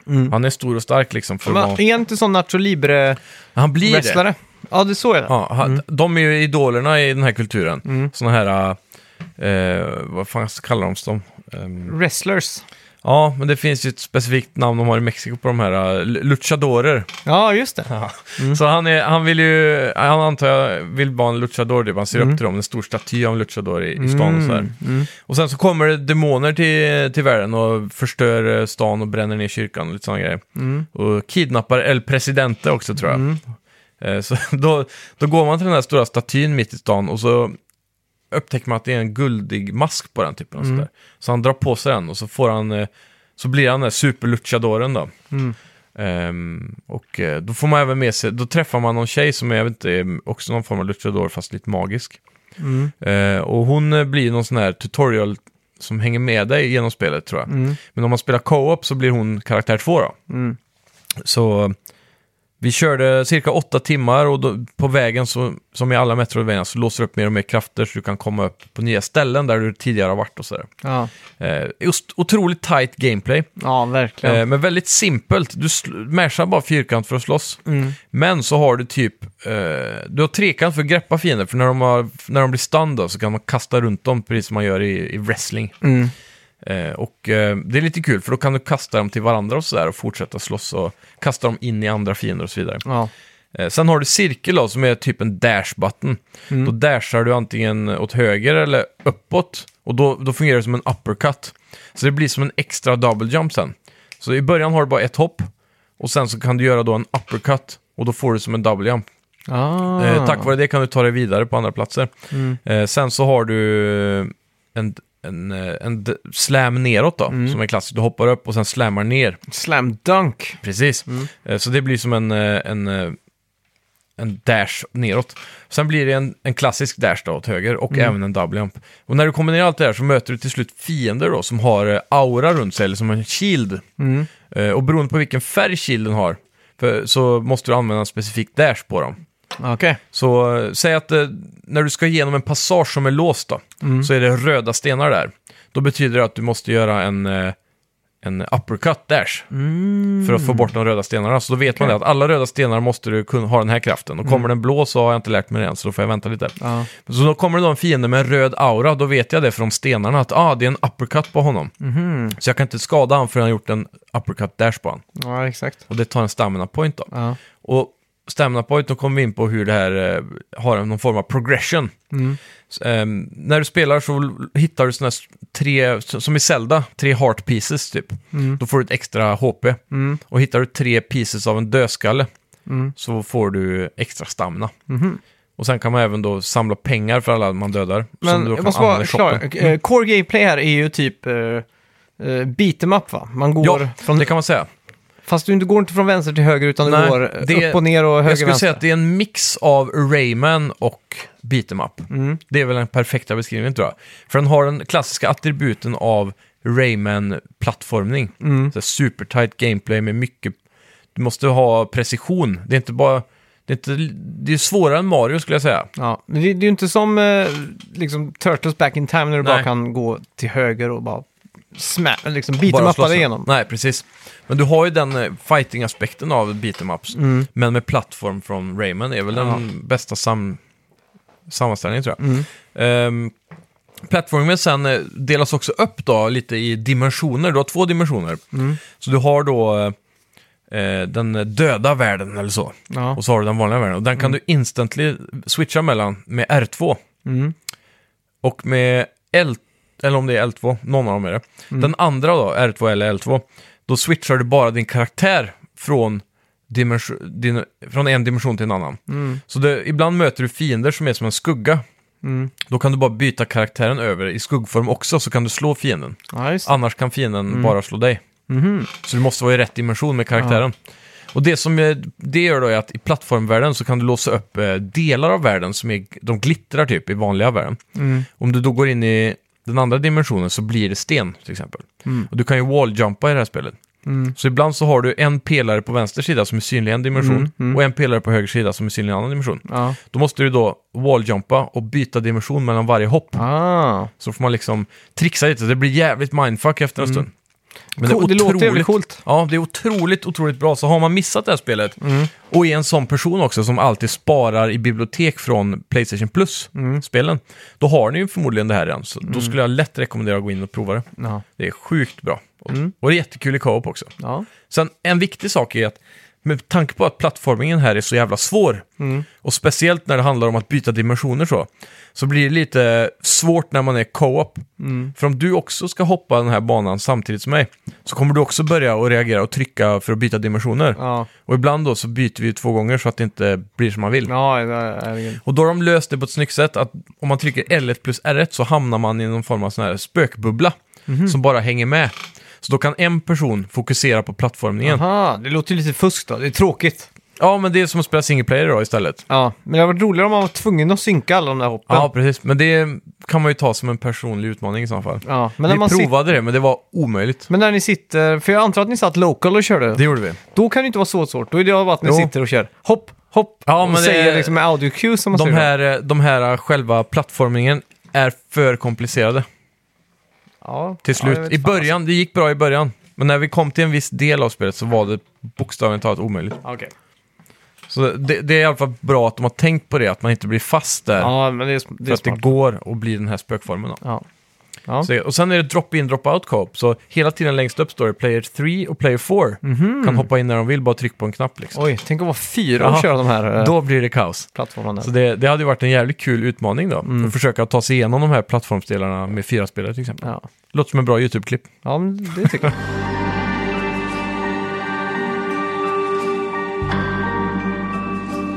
Mm. Han är stor och stark liksom. För att Men, vara... är inte sån Nacho Libre-wrestlare? Han blir det. Ja, det såg jag. Ja, han, De är ju idolerna i den här kulturen. Mm. Såna här, eh, vad fan kallar de dem? Ehm, Wrestlers. ja, men det finns ju ett specifikt namn de har i Mexiko på de här, eh, luchadorer. Mm. Ja, just det. Så han, är, han vill ju, han antar jag vill vara en luchador typ. Han ser upp till dem, en stor staty av en luchador i, i stan och sådär. Mm. Och sen så kommer det demoner till, till världen och förstör eh, stan och bränner ner kyrkan och lite sådana grejer. Mm. Och kidnappar El Presidente också tror jag. Eh, Så <laughs> då, då går man till den här stora statyn mitt i stan och så upptäcker man att det är en guldig mask på den typen. Och sådär. Så han drar på sig den och så, får han, eh, så blir han den där superluchadoren då. Mm. Ehm, och eh, då får man även med sig, då träffar man någon tjej som är, jag vet inte, är också någon form av luchador fast lite magisk. Mm. Eh, och hon eh, blir någon sån här tutorial som hänger med dig genom spelet tror jag. Mm. Men om man spelar co-op så blir hon karaktär 2 då. Mm. Så eh, vi körde cirka åtta timmar och då, på vägen så, som i alla Metroidvania så låser du upp mer och mer krafter så du kan komma upp på nya ställen där du tidigare har varit och sådär. Ja. Eh, just otroligt tight gameplay, ja, verkligen. eh, men väldigt simpelt. Du sl- mashar bara fyrkant för att slåss. Mm. Men så har du typ, eh, du har trekant för att greppa fiender, för när de, har, när de blir stun då, så kan man kasta runt dem precis som man gör i, i wrestling. Mm. Eh, och eh, det är lite kul, för då kan du kasta dem till varandra och sådär och fortsätta slåss och kasta dem in i andra fiender och så vidare. Ja. Eh, sen har du cirkel då, som är typ en dash-button. Då dashar du antingen åt höger eller uppåt, och då, då fungerar det som en uppercut. Så det blir som en extra double jump sen. Så i början har du bara ett hopp, och sen så kan du göra då en uppercut, och då får du som en double jump. Ah. Eh, tack vare det kan du ta dig vidare på andra platser. Mm. Eh, sen så har du eh, en, en, eh, en d- slam neråt då, som är klassiskt. Du hoppar upp och sen slammar ner. Slam dunk. Precis. Eh, så det blir som en, eh, en, eh, en dash neråt. Sen blir det en, en klassisk dash då åt höger och även en double jump. Och när du kommer ner i allt det här så möter du till slut fiender då som har eh, aura runt sig, eller som en shield. Mm. Eh, och beroende på vilken färg shielden har, för, så måste du använda en specifik dash på dem. Okej. Så eh, säg att eh, när du ska igenom en passage som är låst då, så är det röda stenar där. Då betyder det att du måste göra en, eh, en uppercut dash för att få bort de röda stenarna. Så då vet man det, att alla röda stenar måste du kunna ha den här kraften. Och kommer den blå så har jag inte lärt mig det än, så då får jag vänta lite. Ja. Så då kommer det då en fiende med en röd aura, då vet jag det från stenarna att ah, det är en uppercut på honom. Mhm. Så jag kan inte skada honom förrän jag har gjort en uppercut dash på honom. ja, exakt. Och det tar en stamina point då. Ja. Och stamina point, då kommer vi in på hur det här eh, har någon form av progression. Mm. Så, ehm, när du spelar så l- hittar du såna här s- tre, s- som i Zelda, tre heart pieces typ. Mm, Då får du ett extra HP. Och hittar du tre pieces av en dödskalle mm, så får du extra stamina. mhm. Och sen kan man även då samla pengar för alla man dödar. Men som du då jag kan måste använda vara i shoppen. Mm. klar. Eh, Core gameplay här är ju typ uh, beat em up va? Man går Ja, från... det kan man säga. Fast du inte går inte från vänster till höger utan Nej, du går eh, det- upp och ner och höger Jag skulle vänster. säga att det är en mix av Rayman och Mm. beat em up. Det är väl den perfekta beskrivningen tror jag. För den har den klassiska attributen av Rayman-plattformning. Mm. Supertight gameplay med mycket... Du måste ha precision. Det är inte bara... Det är, inte, det är svårare än Mario skulle jag säga. Ja, men det, det är ju inte som eh, liksom Turtles Back in Time när du Nej. bara kan gå till höger och bara sma- liksom beat Bara em slåss uppa dig med. igenom. Nej, precis. Men du har ju den eh, fighting-aspekten av beat em ups. Mm. Men med plattform från Rayman är väl den bästa sam sammanställningen tror jag. Mm. Ehm, plattformen sen eh, delas också upp då lite i dimensioner. Du har två dimensioner. Mm. Så du har då eh, eh, den döda världen eller så. Ja. Mm. Och så har du den vanliga världen. Och den kan du instantly switcha mellan med R2. Mm, Och med L, eller om det är L2, någon av dem är det. Den andra då, R2 eller L2, då switchar du bara din karaktär från, dimensio- din, från en dimension till en annan. Så det, ibland möter du fiender som är som en skugga. mm. Då kan du bara byta karaktären över i skuggform också, så kan du slå fienden. Ja, just det. Annars kan fienden bara slå dig. Så du måste vara i rätt dimension med karaktären. Och det som eh, det gör då är att i plattformvärlden så kan du låsa upp eh, delar av världen som är, de glittrar typ i vanliga världen. Mm, Om du då går in i den andra dimensionen så blir det sten till exempel. Mm. Och du kan ju walljumpa i det här spelet. Så ibland så har du en pelare på vänster sida som är synlig i en dimension och en pelare på höger sida som är synlig i en annan dimension. Mm, Ja. Då måste du då walljumpa och byta dimension mellan varje hopp. Ah. Så får man liksom trixa lite. Det blir jävligt mindfuck efter en stund. Men Mm. Cool, det låter jävligt coolt. Ja, det är otroligt, otroligt bra. Så har man missat det här spelet och är en sån person också som alltid sparar i bibliotek från Playstation Plus-spelen, då har ni ju förmodligen det här redan. Så då skulle jag lätt rekommendera att gå in och prova det. Ja. Det är sjukt bra. Och, och det är jättekul i co-op också. Ja. Sen en viktig sak är att med tanke på att plattformingen här är så jävla svår, Mm. och speciellt när det handlar om att byta dimensioner så, så blir det lite svårt när man är co-op. Mm. För om du också ska hoppa den här banan samtidigt som mig, så kommer du också börja att reagera och trycka för att byta dimensioner. Ja. Och ibland då så byter vi ju två gånger så att det inte blir som man vill. Ja, det är det. Och då har de löst det på ett snyggt sätt att om man trycker L1 plus R1 så hamnar man i någon form av sån här spökbubbla Mhm. som bara hänger med. Så då kan en person fokusera på plattformningen. Aha, det låter ju lite fusk då. Det är tråkigt. Ja, men det är som att spela single player då istället. Ja, men det hade varit roligare om man var tvungen att synka alla de där hoppen. Ja, precis. Men det kan man ju ta som en personlig utmaning i så fall. Ja, men när vi man sitter, provade det, men det var omöjligt. men när ni sitter, för jag antar att ni satt local och körde, Det gjorde vi. då kan det inte vara så svårt. Då är det bara att ni Jo. sitter och kör hopp, hopp Ja, och men det- säger liksom med audio cues som man De säger. då. här, eh, de här eh, själva plattformningen är för komplicerade ja, till ja, jag vet slut. I fan, alltså. början, det gick bra i början. Men när vi kom till en viss del av spelet så var det bokstavligt talat omöjligt. alltså. Okej. Så det, det är i alla fall bra att de har tänkt på det, att man inte blir fast där. Ja, men det är, det för är att det smart. går att bli den här spökformen. Då. Ja. Ja. Så, och sen är det drop-in, drop-out co-op. Så hela tiden längst upp står det player 3 och player 4. Kan hoppa in när de vill, bara tryck på en knapp liksom. Oj, tänk att vara fyra Ja. och köra de här eh, Då blir det kaos. plattformarna. Så det, det hade ju varit en jävligt kul utmaning då. För att försöka ta sig igenom de här plattformsdelarna med fyra spelare till exempel. Ja. Låter som en bra YouTube-klipp. ja, men det tycker jag.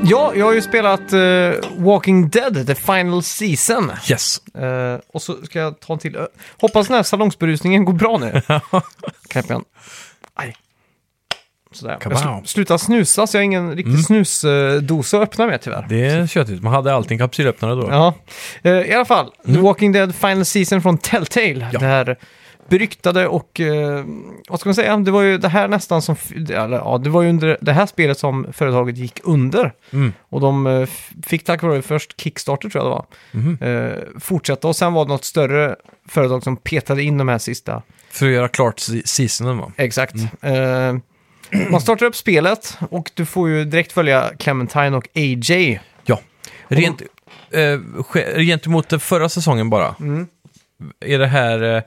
Ja, jag har ju spelat eh, Walking Dead, The Final Season. Yes! Eh, och så ska jag ta en till. Ö, hoppas den här salongsberusningen går bra nu. Knäpper jag en. Aj. Sådär. Jag Kabow. sl- slutar snusa så jag har ingen riktig snusdosa att öppna med tyvärr. Det är tjötigt. Man hade allting kapsylöppnare då. Ja, Eh, i alla fall. The Walking Dead Final Season från Telltale. Mm. Ja. Det här beryktade och, eh, vad ska man säga, det var ju det här nästan som, f- eller ja, det var ju under det här spelet som företaget gick under. Mm. Och de eh, f- fick tack vare först Kickstarter tror jag det var, Mhm. eh, fortsätta och sen var det något större företag som petade in de här sista. För att göra klart se- seasonen va? Exakt. Eh, man startar upp spelet och du får ju direkt följa Clementine och AJ. Ja. Rent, eh, ske- gentemot den förra säsongen bara. Är det här... Eh,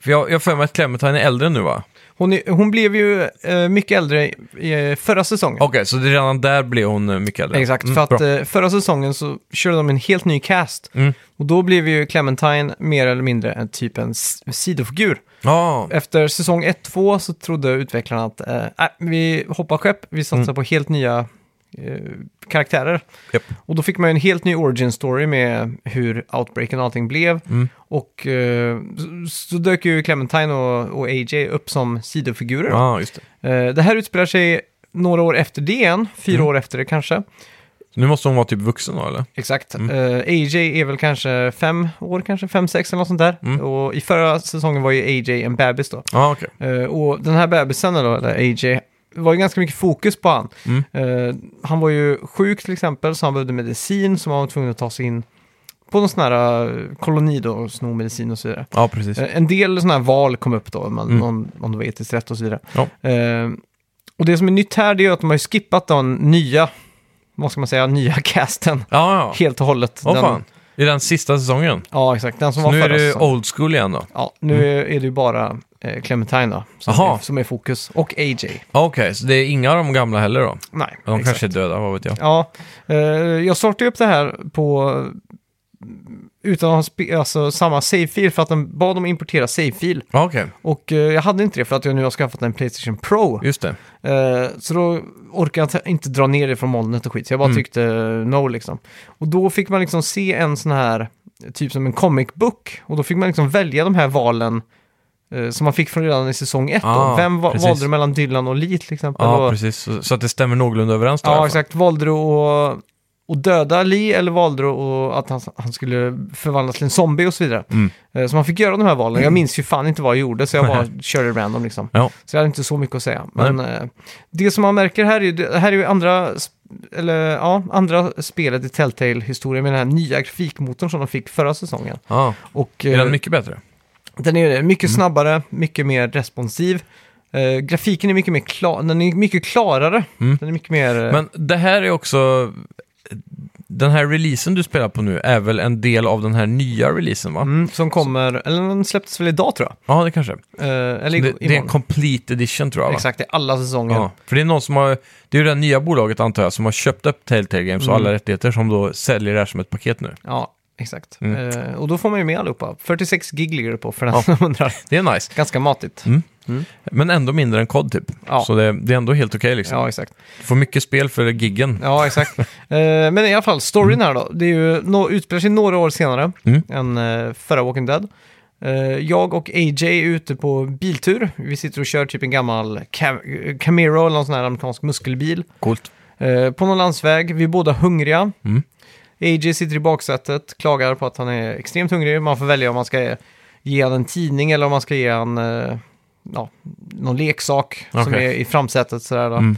för jag jag har för mig att Clementine är äldre nu va? Hon, är, hon blev ju eh, mycket äldre i, i förra säsongen. Okej, så det är redan där blev hon eh, mycket äldre. Exakt, Mm, för att bra. eh, förra säsongen så körde de en helt ny cast. Mm. Och då blev ju Clementine mer eller mindre en typ en s- sidofigur. Ja, Efter säsong 1-2 så trodde utvecklarna att eh, äh, vi hoppar skepp, vi satsar på helt nya eh, karaktärer. Japp. Och då fick man ju en helt ny origin story med hur outbreaken och allting blev. Mm. Och eh, så, så dök ju Clementine och, och AJ upp som sidofigurer. ja, ah, just det. Eh, Det här utspelar sig några år efter det igen, fyra år efter det kanske, Så nu måste hon vara typ vuxen då, eller? Exakt. Eh, AJ är väl kanske fem år, kanske fem, sex eller något sånt där. Och i förra säsongen var ju AJ en bebis då. Ja, Ah, okej. Eh, och den här bebisen då, eller AJ, det var ju ganska mycket fokus på han. Eh, han var ju sjuk till exempel, så han behövde medicin som han var tvungen att ta sig in på någon sån här eh, koloni då, och sno medicin och så vidare. Ja, precis. Eh, En del sådana här val kom upp då, man, om, om det var etiskt rätt och så vidare. Mm. Ja. Eh, och det som är nytt här det är ju att de har ju skippat den nya, vad ska man säga, nya <laughs> casten. Ja, ja. Helt och hållet. Åh den, fan. I den sista säsongen. Ja, exakt. Den som Så var nu är förra det Mm. säsongen. old school igen då? Ja, nu är- är det ju bara eh, Clementine då, som Aha. är, som är fokus. Och AJ. Ah, Okej, så det är inga av de gamla heller då? Nej, De exakt. kanske är döda, vad vet jag? Ja, eh, jag sortade upp det här på utan att ha spe- alltså, samma save-fil för att de bad dem importera save-fil. Ja, Ah, Okej, Och eh, jag hade inte det för att jag nu har skaffat en Playstation Pro. just det. Eh, så då orkade jag ta- inte dra ner det från molnet och skit, så jag bara Mm. tryckte eh, no liksom. Och då fick man liksom se en sån här, typ som en comic book, och då fick man liksom välja de här valen eh, som man fick från redan i säsong ett. Ah, då. Vem va- precis. valde du mellan Dylan och Lee till exempel? Ja, och, precis. Så, så att det stämmer någorlunda överens då? i alla ja fall. exakt. Valde du att, att döda Lee eller valde du att, att han, han skulle förvandlas till en zombie och så vidare? Mm. Eh, så man fick göra de här valen. Jag minns ju fan inte vad jag gjorde, så jag <laughs> bara körde random liksom. Ja. Så jag hade inte så mycket att säga. Men eh, det som man märker här är ju, det här är ju andra, sp- eller, ja, andra spelet i Telltale-historien med den här nya grafikmotorn som de fick förra säsongen. Ja. Och, Ah, Är eh, den mycket Mm. bättre? den är det. mycket snabbare, mycket mer responsiv. Eh, grafiken är mycket mer klar, den är mycket klarare. Den är mycket mer... eh, Mm. Men det här är också... Den här releasen du spelar på nu är väl en del av den här nya releasen, va? mm, som kommer, eller den släpptes väl idag tror jag. Ja, det kanske. Eh, eller Det, i- det är en imorgon. complete edition, tror jag, va? Exakt, i alla säsonger. Ja, för det är någon som har, det är ju det här nya bolaget antar jag, som har köpt upp Telltale Games Mm. och alla rättigheter som då säljer det här som ett paket nu. Ja, exakt. Mm. Eh, och då får man ju med allihopa. 46 gig ligger det på för den <laughs> som undrar. Det är nice, Ganska matigt. men ändå mindre än kod typ. Ja. Så det, det är ändå helt okej liksom. Ja, exakt. Du får mycket spel för giggen. Ja, exakt. Eh, men i alla fall, storyn här då. Det är ju, no, utspelar sig några år senare Mm. än eh, förra Walking Dead. Eh, jag och AJ är ute på biltur. Vi sitter och kör typ en gammal Cam- eh, Camaro eller någon sån här amerikansk muskelbil. Coolt. Eh, på någon landsväg, vi är båda hungriga. Mm. AJ sitter i baksätet, klagar på att han är extremt hungrig. Man får välja om man ska ge han en tidning eller om man ska ge han eh, ja, någon leksak som Okej. är i framsätet. Sådär då. Mm.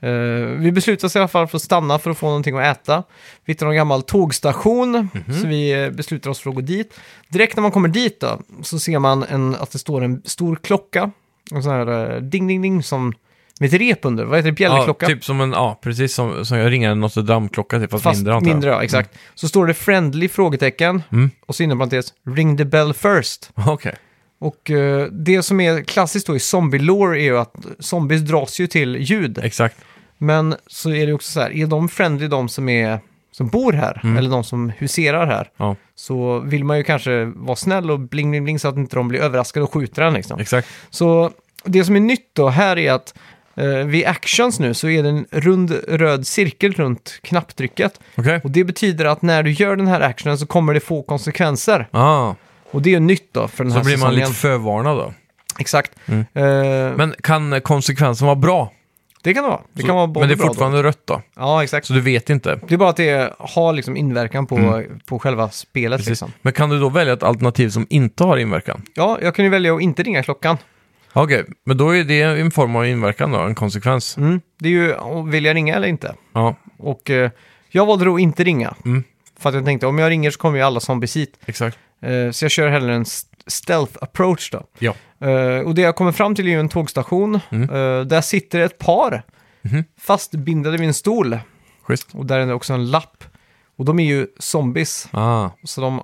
Eh, vi beslutar oss i alla fall för att stanna för att få någonting att äta. Vi hittar en gammal tågstation, Mhm. så vi eh, beslutar oss för att gå dit. Direkt när man kommer dit då, så ser man en, att det står en stor klocka. En sån här eh, ding ding ding som med ett rep under. Vad heter det? Ja, Bjällerklocka? typ som en, ja precis som, som jag ringer en Notre Dame-klocka typ, fast, Fast mindre mindre, antar jag. ja, exakt. Så står det friendly frågetecken Mm. och så inom parentes ring the bell first. <laughs> Okej. Och eh, det som är klassiskt då i zombie-lore är ju att zombies dras ju till ljud. Exakt. Men så är det också så här, är de friendly de som, är, som bor här Mm. eller de som huserar här Ja, så vill man ju kanske vara snäll och bling bling bling så att inte de blir överraskade och skjuter en liksom. exakt. Så det som är nytt då här är att eh, vid actions nu så är det en rund röd cirkel runt knapptrycket. Okej. Och det betyder att när du gör den här actionen så kommer det få konsekvenser. Ah, Och det är ju nytt då för den så här blir man säsongen. lite förvarnad då. Exakt. Eh, Men kan konsekvensen vara bra? det kan det vara. Det Så- kan vara men både det är bra då. fortfarande rött då? Ja, exakt. Så du vet inte? Det är bara att det har liksom inverkan på, på själva spelet. Mm. Precis. Liksom. Men kan du då välja ett alternativ som inte har inverkan? Ja, jag kunde ju välja att inte ringa klockan. Okej, men då är det en form av inverkan då, en konsekvens. Mm. Det är ju, om vill jag ringa eller inte? Ja, Och eh, jag valde då att inte ringa. Mm. För att jag tänkte, om jag ringer så kommer ju alla zombies hit. exakt. Eh, så jag kör hellre en st- stealth approach då. Ja. Eh, och det jag kommer fram till är ju en tågstation. Mm. Eh, där sitter ett par Mhm. fastbindade vid en stol. Schysst. Och där är det också en lapp. Och de är ju zombies. Ah, Så de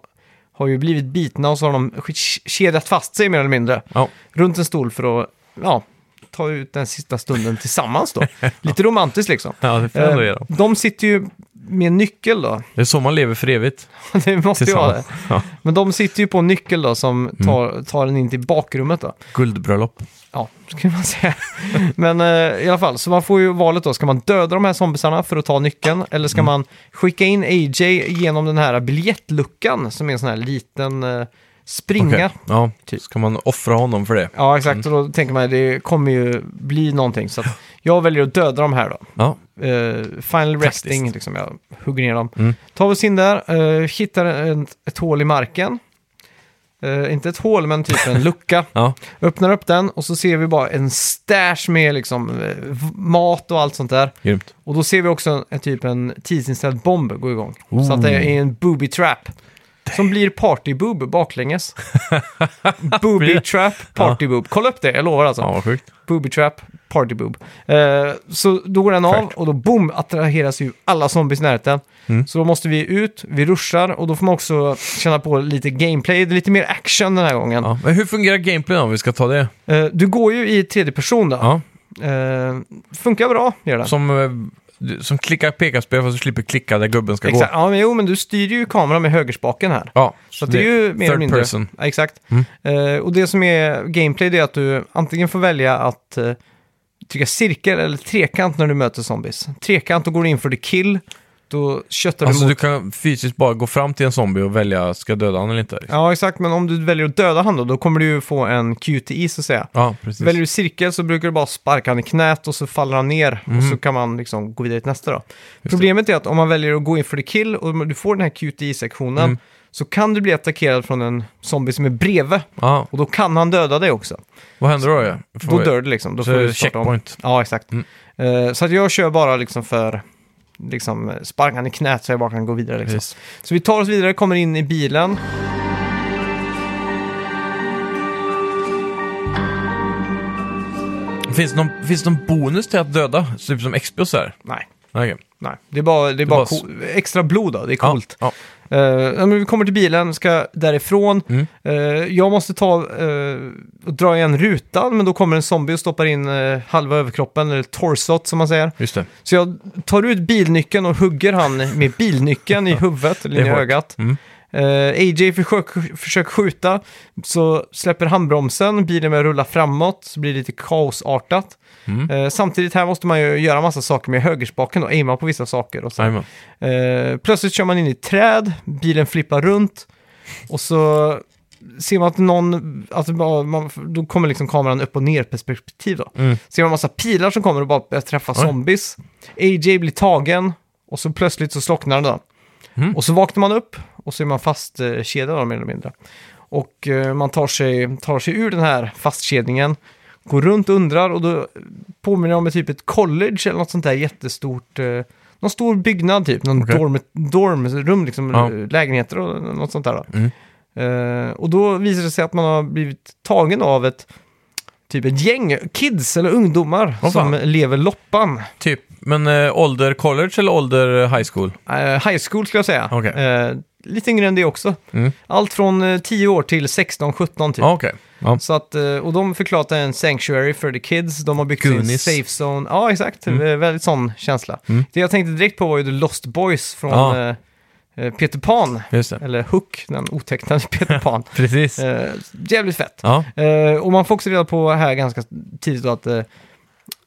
har ju blivit bitna och så har de sk- kedjat fast sig mer eller mindre. ja. Runt en stol för att ja, ta ut den sista stunden tillsammans <laughs> då. Lite romantiskt liksom. ja, det får jag ändå ge Eh, dem. de sitter ju med en nyckel då. <laughs> Det är så man lever för evigt. det måste ju vara det. Tillsammans. Mm. Ja. Men de sitter ju på en nyckel då som tar, tar den in till bakrummet då. Guldbröllop. Ja, skulle man säga. <laughs> Men eh, i alla fall, så man får ju valet då. Ska man döda de här zombisarna för att ta nyckeln? Eller ska man skicka in AJ genom den här biljettluckan som är en sån här liten eh, springa? Okej. Ja, Typ. ska man offra honom för det? Ja, exakt. Och då tänker man det kommer ju bli någonting. Så att jag väljer att döda de här då. Ja, eh, Final Taktiskt. Resting, liksom, jag hugger ner dem. Tar vi oss in där, eh, hittar ett, ett hål i marken. Eh, inte ett hål, men typ en lucka. Ja. Öppnar upp den och så ser vi bara en stash med liksom, eh, v- mat och allt sånt där. Grymt. Och då ser vi också en, en typ en tidsinställd bomb gå igång. Så att det är en booby trap. Som blir partyboob baklänges. <laughs> booby trap, partyboob. Kolla upp det, jag lovar alltså. Ja, vad sjukt. Booby trap, party boob. Eh, så då går den av Fräckt. och då boom attraheras ju alla zombies i närheten. Mm. Så då måste vi ut, vi ruschar och då får man också känna på lite gameplay, det är lite mer action den här gången. Ja. Men hur fungerar gameplayen om vi ska ta det? Eh, du går ju i tredje person då. Ja. Eh, funkar bra, gör det. Som, eh, du- som klicka peka-spel fast du slipper klicka där gubben ska Exakt. gå. Ja, men jo, men du styr ju kameran med högerspaken här. Ja, Så att det är ju mer eller third mindre... person. Mm. Ja, exakt. Eh, och det som är gameplay det är att du antingen får välja att eh, trycka cirkel eller trekant när du möter zombies. Trekant, då går du in för the kill. Då köttar Alltså du mot... du kan fysiskt bara gå fram till en zombie och välja, ska jag döda han eller inte? liksom. Ja, exakt. Men om du väljer att döda han då, då kommer du ju få en QTI så att säga. Ja, precis. Väljer du cirkel så brukar du bara sparka han i knät och så faller han ner och Mhm. så kan man liksom gå vidare till nästa då. Problemet är att om man väljer att gå in för the kill och du får den här QTI-sektionen Mm. så kan du bli attackerad från en zombie som är bredvid Ja, och då kan han döda dig också. vad händer då? ja? Får Då vi- dör du liksom. Då Så får är du det starta om. checkpoint. Mm. Ja, exakt. Eh, så att jag kör bara liksom för liksom, sparkan i knät så jag bara kan gå vidare. Liksom. Precis. Så vi tar oss vidare, kommer in i bilen. Finns det, någon, finns det någon bonus till att döda? Så Typ som Xbox här? Nej, Okej. nej. Det är bara, det är bara bara s- co- extra blod då. Det är Ja, coolt. Ja, Eh, ja, men vi kommer till bilen, ska därifrån. Mm. Eh, jag måste ta eh, och dra igen rutan, men då kommer en zombie och stoppar in eh, halva överkroppen, eller torsot som man säger. just det. Så jag tar ut bilnyckeln och hugger han med bilnyckeln <laughs> i huvudet, eller Det är i hårt. ögat. Mm. Eh, AJ försöker, försöker skjuta, så släpper handbromsen, bilen börjar rulla framåt, så blir det lite kaosartat. Mm. Eh, samtidigt här måste man ju göra massa saker med högerspaken och aima på vissa saker. Och så. Jajamän. Eh, plötsligt kör man in i ett träd, bilen flippar runt och så ser man att någon, att det bara- man, då kommer liksom kameran upp och ner perspektiv då. Mm. Ser man en massa pilar som kommer och bara börjar träffa Oj. zombies. AJ blir tagen och så plötsligt så slocknar den då. Mm. Och så vaknar man upp och så är man fastkedjad då mer eller mindre. Och eh, man tar sig, tar sig ur den här fastkedjningen, går runt och undrar och då påminner det om ett typ ett college eller något sånt där jättestort, eh, någon stor byggnad typ, någon Okej. dorm, dormrum, liksom, Ja. eh, lägenheter och något sånt där. Då. Mm. Eh, och då visar det sig att man har blivit tagen av ett typ ett gäng kids eller ungdomar Åh, fan. som lever loppan. Typ, men eh, ålder college eller ålder high school? Eh, high school skulle jag säga. Okej. Eh, lite yngre än det också. Mm. Allt från eh, 10 år till 16-17 typ. Ja, okej. Ja. Så att, eh, och de förklarade en sanctuary för the kids, de har byggt sin Goonies. safe zone. Ja, exakt. Eh, Väldigt sån känsla. Mm. Det jag tänkte direkt på var ju The Lost Boys från Ja. eh, eh, Peter Pan, Just det. eller Hook, den otecknade <laughs> Peter <laughs> Pan. Precis. Eh, jävligt fett. Ja, Eh, och man får också reda på här ganska tidigt då att eh,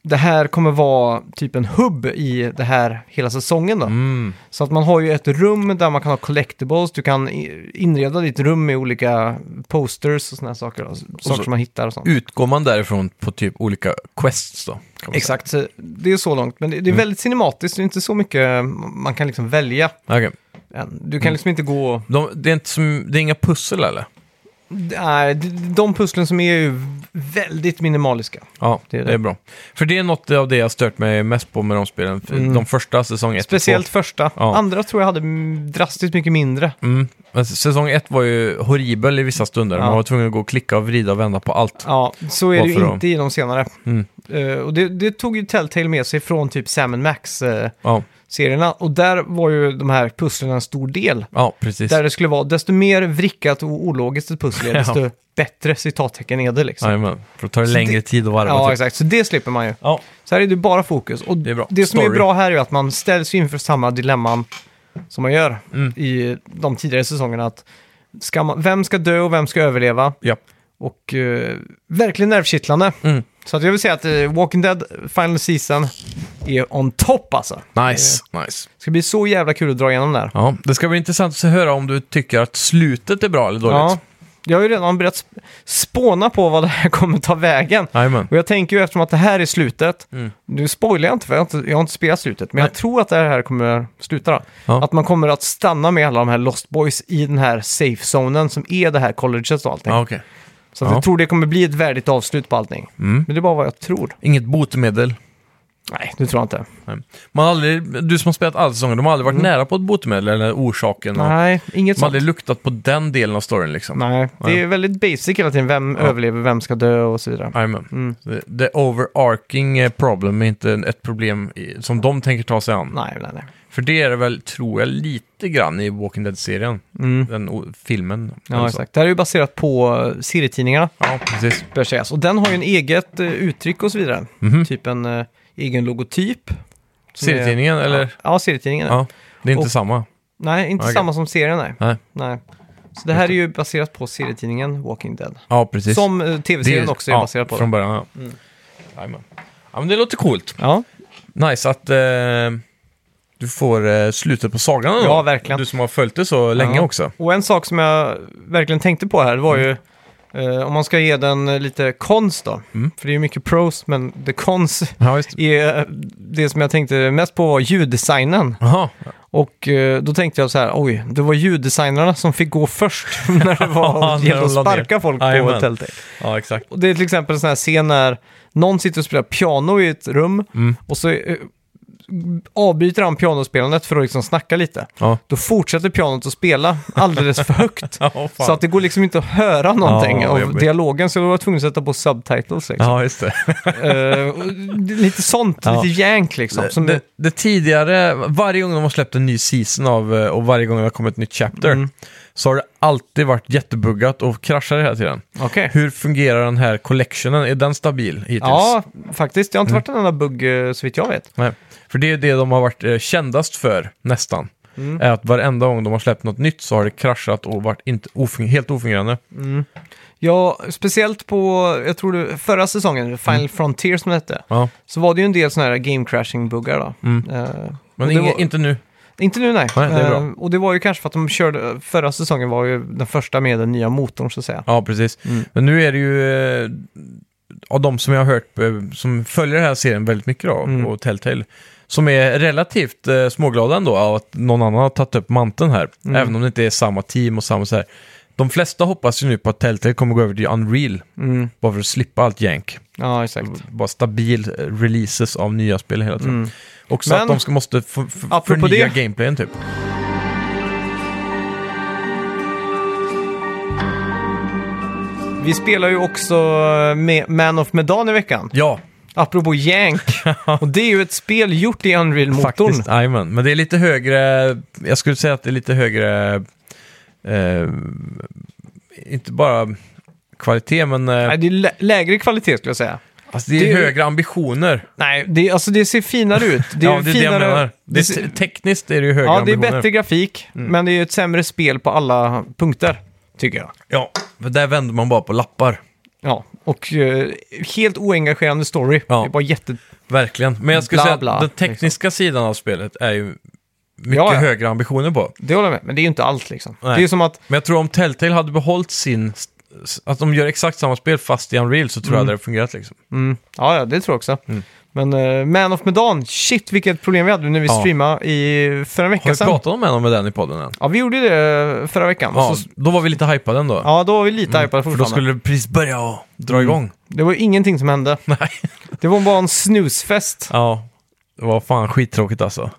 det här kommer vara typ en hubb i det här hela säsongen då. mm. Så att man har ju ett rum där man kan ha collectibles, du kan i- inreda ditt rum med olika posters och sådana saker. Då, saker som man hittar och sånt. Utgår man därifrån på typ olika quests då? kan man säga. Exakt, så det är så långt. Men det, det är väldigt cinematiskt, det är inte så mycket man kan liksom välja. Okej. än. Du kan liksom inte gå... De, det, är inte som, det är inga pussel eller? Nej, d- de pusslen som är ju väldigt minimaliska. Ja, Det det är är, det. bra. För det är något av det jag stört mig mest på med de spelen. För Mm. De första säsong 1 Speciellt första. Ja. Andra tror jag hade mm, drastiskt mycket mindre. Mm. Men säsong 1 var ju horribel i vissa stunder. Ja. Man var tvungen att gå och klicka och vrida och vända på allt. Ja, så är det ju Varför då? inte i de senare. Mm. Eh, och det, det tog ju Telltale med sig från typ Sam Max. eh, Ja, serierna. Och där var ju de här pusslen en stor del. ja precis. Där det skulle vara, desto mer vrickat och ologiskt ett pussel är, <laughs> Ja. desto bättre citattecken är det liksom. Jajamän. För då tar det Så längre det- tid att varva. Ja, typ. exakt. Så det slipper man ju. ja. Så här är det bara fokus. Och Det är bra. som är Story. bra här är ju att man ställs ju inför samma dilemman som man gör Mm. i de tidigare säsongerna. Att ska man, vem ska dö och vem ska överleva? Ja. Och eh, verkligen nervkittlande. Mm. Så att jag vill säga att eh, Walking Dead Final Season är on top alltså. Nice, nice. Det ska bli så jävla kul att dra igenom där. Ja, det ska bli intressant att höra om du tycker att slutet är bra eller dåligt. Jag har ju redan börjat sp- spåna på vad det här <laughs> kommer ta vägen. Jajamän. Och jag tänker ju eftersom att det här är slutet, Mm. nu spoilar jag inte för jag har inte, jag har inte spelat slutet, men jag tror att det här kommer sluta då. Ja. Att man kommer att stanna med alla de här Lost Boys i den här safe-zonen som är det här colleget och allting. Ja, okej. Så att Ja. jag tror det kommer bli ett värdigt avslut på allting. Men det är bara vad jag tror. Mm. Inget botemedel. Nej, det tror jag inte. Nej. Man har aldrig, du som har spelat alla säsonger, de har aldrig varit nära på ett botemedel eller orsaken. och- Mm. Nej, inget De har sånt. aldrig luktat på den delen av storyn liksom. Nej, det är väldigt basic hela tiden. Vem överlever, vem ska dö och så vidare. Jajamän. Mm. The, the overarching eh, problem är inte ett problem i, som de tänker ta sig an. Nej, nej, nej. För det är det väl, tror jag, lite grann i Walking Dead-serien. Den o- filmen. Mm. Ja, eller så. exakt. Det här är ju baserat på eh, serietidningarna, Ja, precis. bör sägas. Och den har ju en eget eh, uttryck och så vidare. Typ en eh, egen logotyp. som är- Serietidningen, eller? Ja, serietidningen. Ja. Det är inte Och- samma. Nej, inte Okej. samma som serien, nej. Nej. nej. Så det här är ju baserat på serietidningen Walking Dead. Ja, precis. Som eh, tv-serien Det- också är ja, baserad på. Mm. Från Från... början, ja. Jajamän. Ja, men det låter coolt. Ja, Nice att eh, du får eh, slutet på sagan ändå. Ja, verkligen. Du som har följt det så länge Ja. också. Och en sak som jag verkligen tänkte på här var ju, Mm. eh, om man ska ge den eh, lite cons då, för det är ju mycket pros, men the cons Ja, just är eh, det som jag tänkte mest på var ljuddesignen. Jaha, Och eh, då tänkte jag så här, oj, det var ljuddesignerna som fick gå först <laughs> när det <laughs> Ja, var när gällde de att la ner. sparka folk på Jajamän. tältet. ja exakt. Och det är till exempel en sån här scen när någon sitter och spelar piano i ett rum Mm. och så eh, avbryter han pianospelandet för att liksom snacka lite. Ja. Då fortsätter pianot att spela alldeles för högt. Ja, fan. så att det går liksom inte att höra någonting Ja, av jobbigt. dialogen, så jag var tvungen att sätta på subtitles. Liksom. ja, just det. Eh, och det är lite sånt, Ja. lite jänk liksom. Som det, det tidigare, varje gång de har släppt en ny season av, eh, och varje gång det har kommit ett nytt chapter, Mm. så har det alltid varit jättebuggat och kraschar hela tiden. Okej. Hur fungerar den här collectionen? Är den stabil hittills? Ja, faktiskt. Det har inte varit en enda bugg eh, så vitt jag vet. Nej. För det är det de har varit eh, kändast för, nästan. Mm. Är att varenda gång de har släppt något nytt så har det kraschat och varit inte ofung- helt ofungerande. Ja, speciellt på, jag tror det, förra säsongen, Final Mm. Frontier som det hette. Ja. Så var det ju en del sådana här game crashing buggar då. Eh, Mm. Men och det inge, var, inte nu. inte nu nej. Nej, det är bra. Eh, och det var ju kanske för att de körde, förra säsongen var ju den första med den nya motorn så att säga. Ja, precis. Mm. Men nu är det ju eh, av de som jag har hört, eh, som följer den här serien väldigt mycket då, Mm. och Telltale, som är relativt eh, småglada ändå av att någon annan har tagit upp manteln här. Mm. Även om det inte är samma team och samma så här. De flesta hoppas ju nu på att Telltale kommer gå över till Unreal, Mm. bara för att slippa allt jänk. Ja, exakt. Bara stabil eh, releases av nya spel hela tiden. Och så Mm. Men- att de ska, måste f- f- Apropå förnya det- gameplayen typ. Vi spelar ju också eh, med Man of Medan i veckan. Ja, Apropå <laughs> Jank. och det är ju ett spel gjort i Unreal-motorn. Faktiskt, jajamän. Men det är lite högre, jag skulle säga att det är lite högre, eh, inte bara kvalitet, men eh, Nej, det är lä- lägre kvalitet skulle jag säga. alltså det är det är- högre ambitioner. Nej, det, alltså det ser finare ut. Det är <laughs> ja, det är finare, det jag menar. Det är, ser- te- tekniskt är det ju högre Ja, det är ambitioner. Mm. bättre grafik, men det är ju ett sämre spel på alla punkter, tycker jag. Ja, för där vänder man bara på lappar. Ja, och eh, helt oengagerande story. Ja. Det är bara jätte... Verkligen. Men jag skulle Bla, säga att bla, liksom. den tekniska sidan av spelet är ju mycket Ja, ja. högre ambitioner på. Det håller jag med, men det är ju inte allt liksom. Nej. Det är ju som att... Men jag tror om Telltale hade behållit sin, att de gör exakt samma spel fast i Unreal så tror jag det hade fungerat liksom. Mm, ja, ja, det tror jag också. Mm. Men eh, Man of Medan, shit vilket problem vi hade när vi Ja. streamade i, för en Har vecka vi sedan. pratat om en med den i podden än? Ja, vi gjorde det förra veckan. Ja, Och så, Alltså, då var vi lite hypade ändå. ja då var vi lite hypade Mm. För då fortfarande. skulle det precis börja och dra Mm. igång. <laughs> Det var ju ingenting som hände. Nej. Det var bara en snusfest. Ja, det var fan skittråkigt alltså.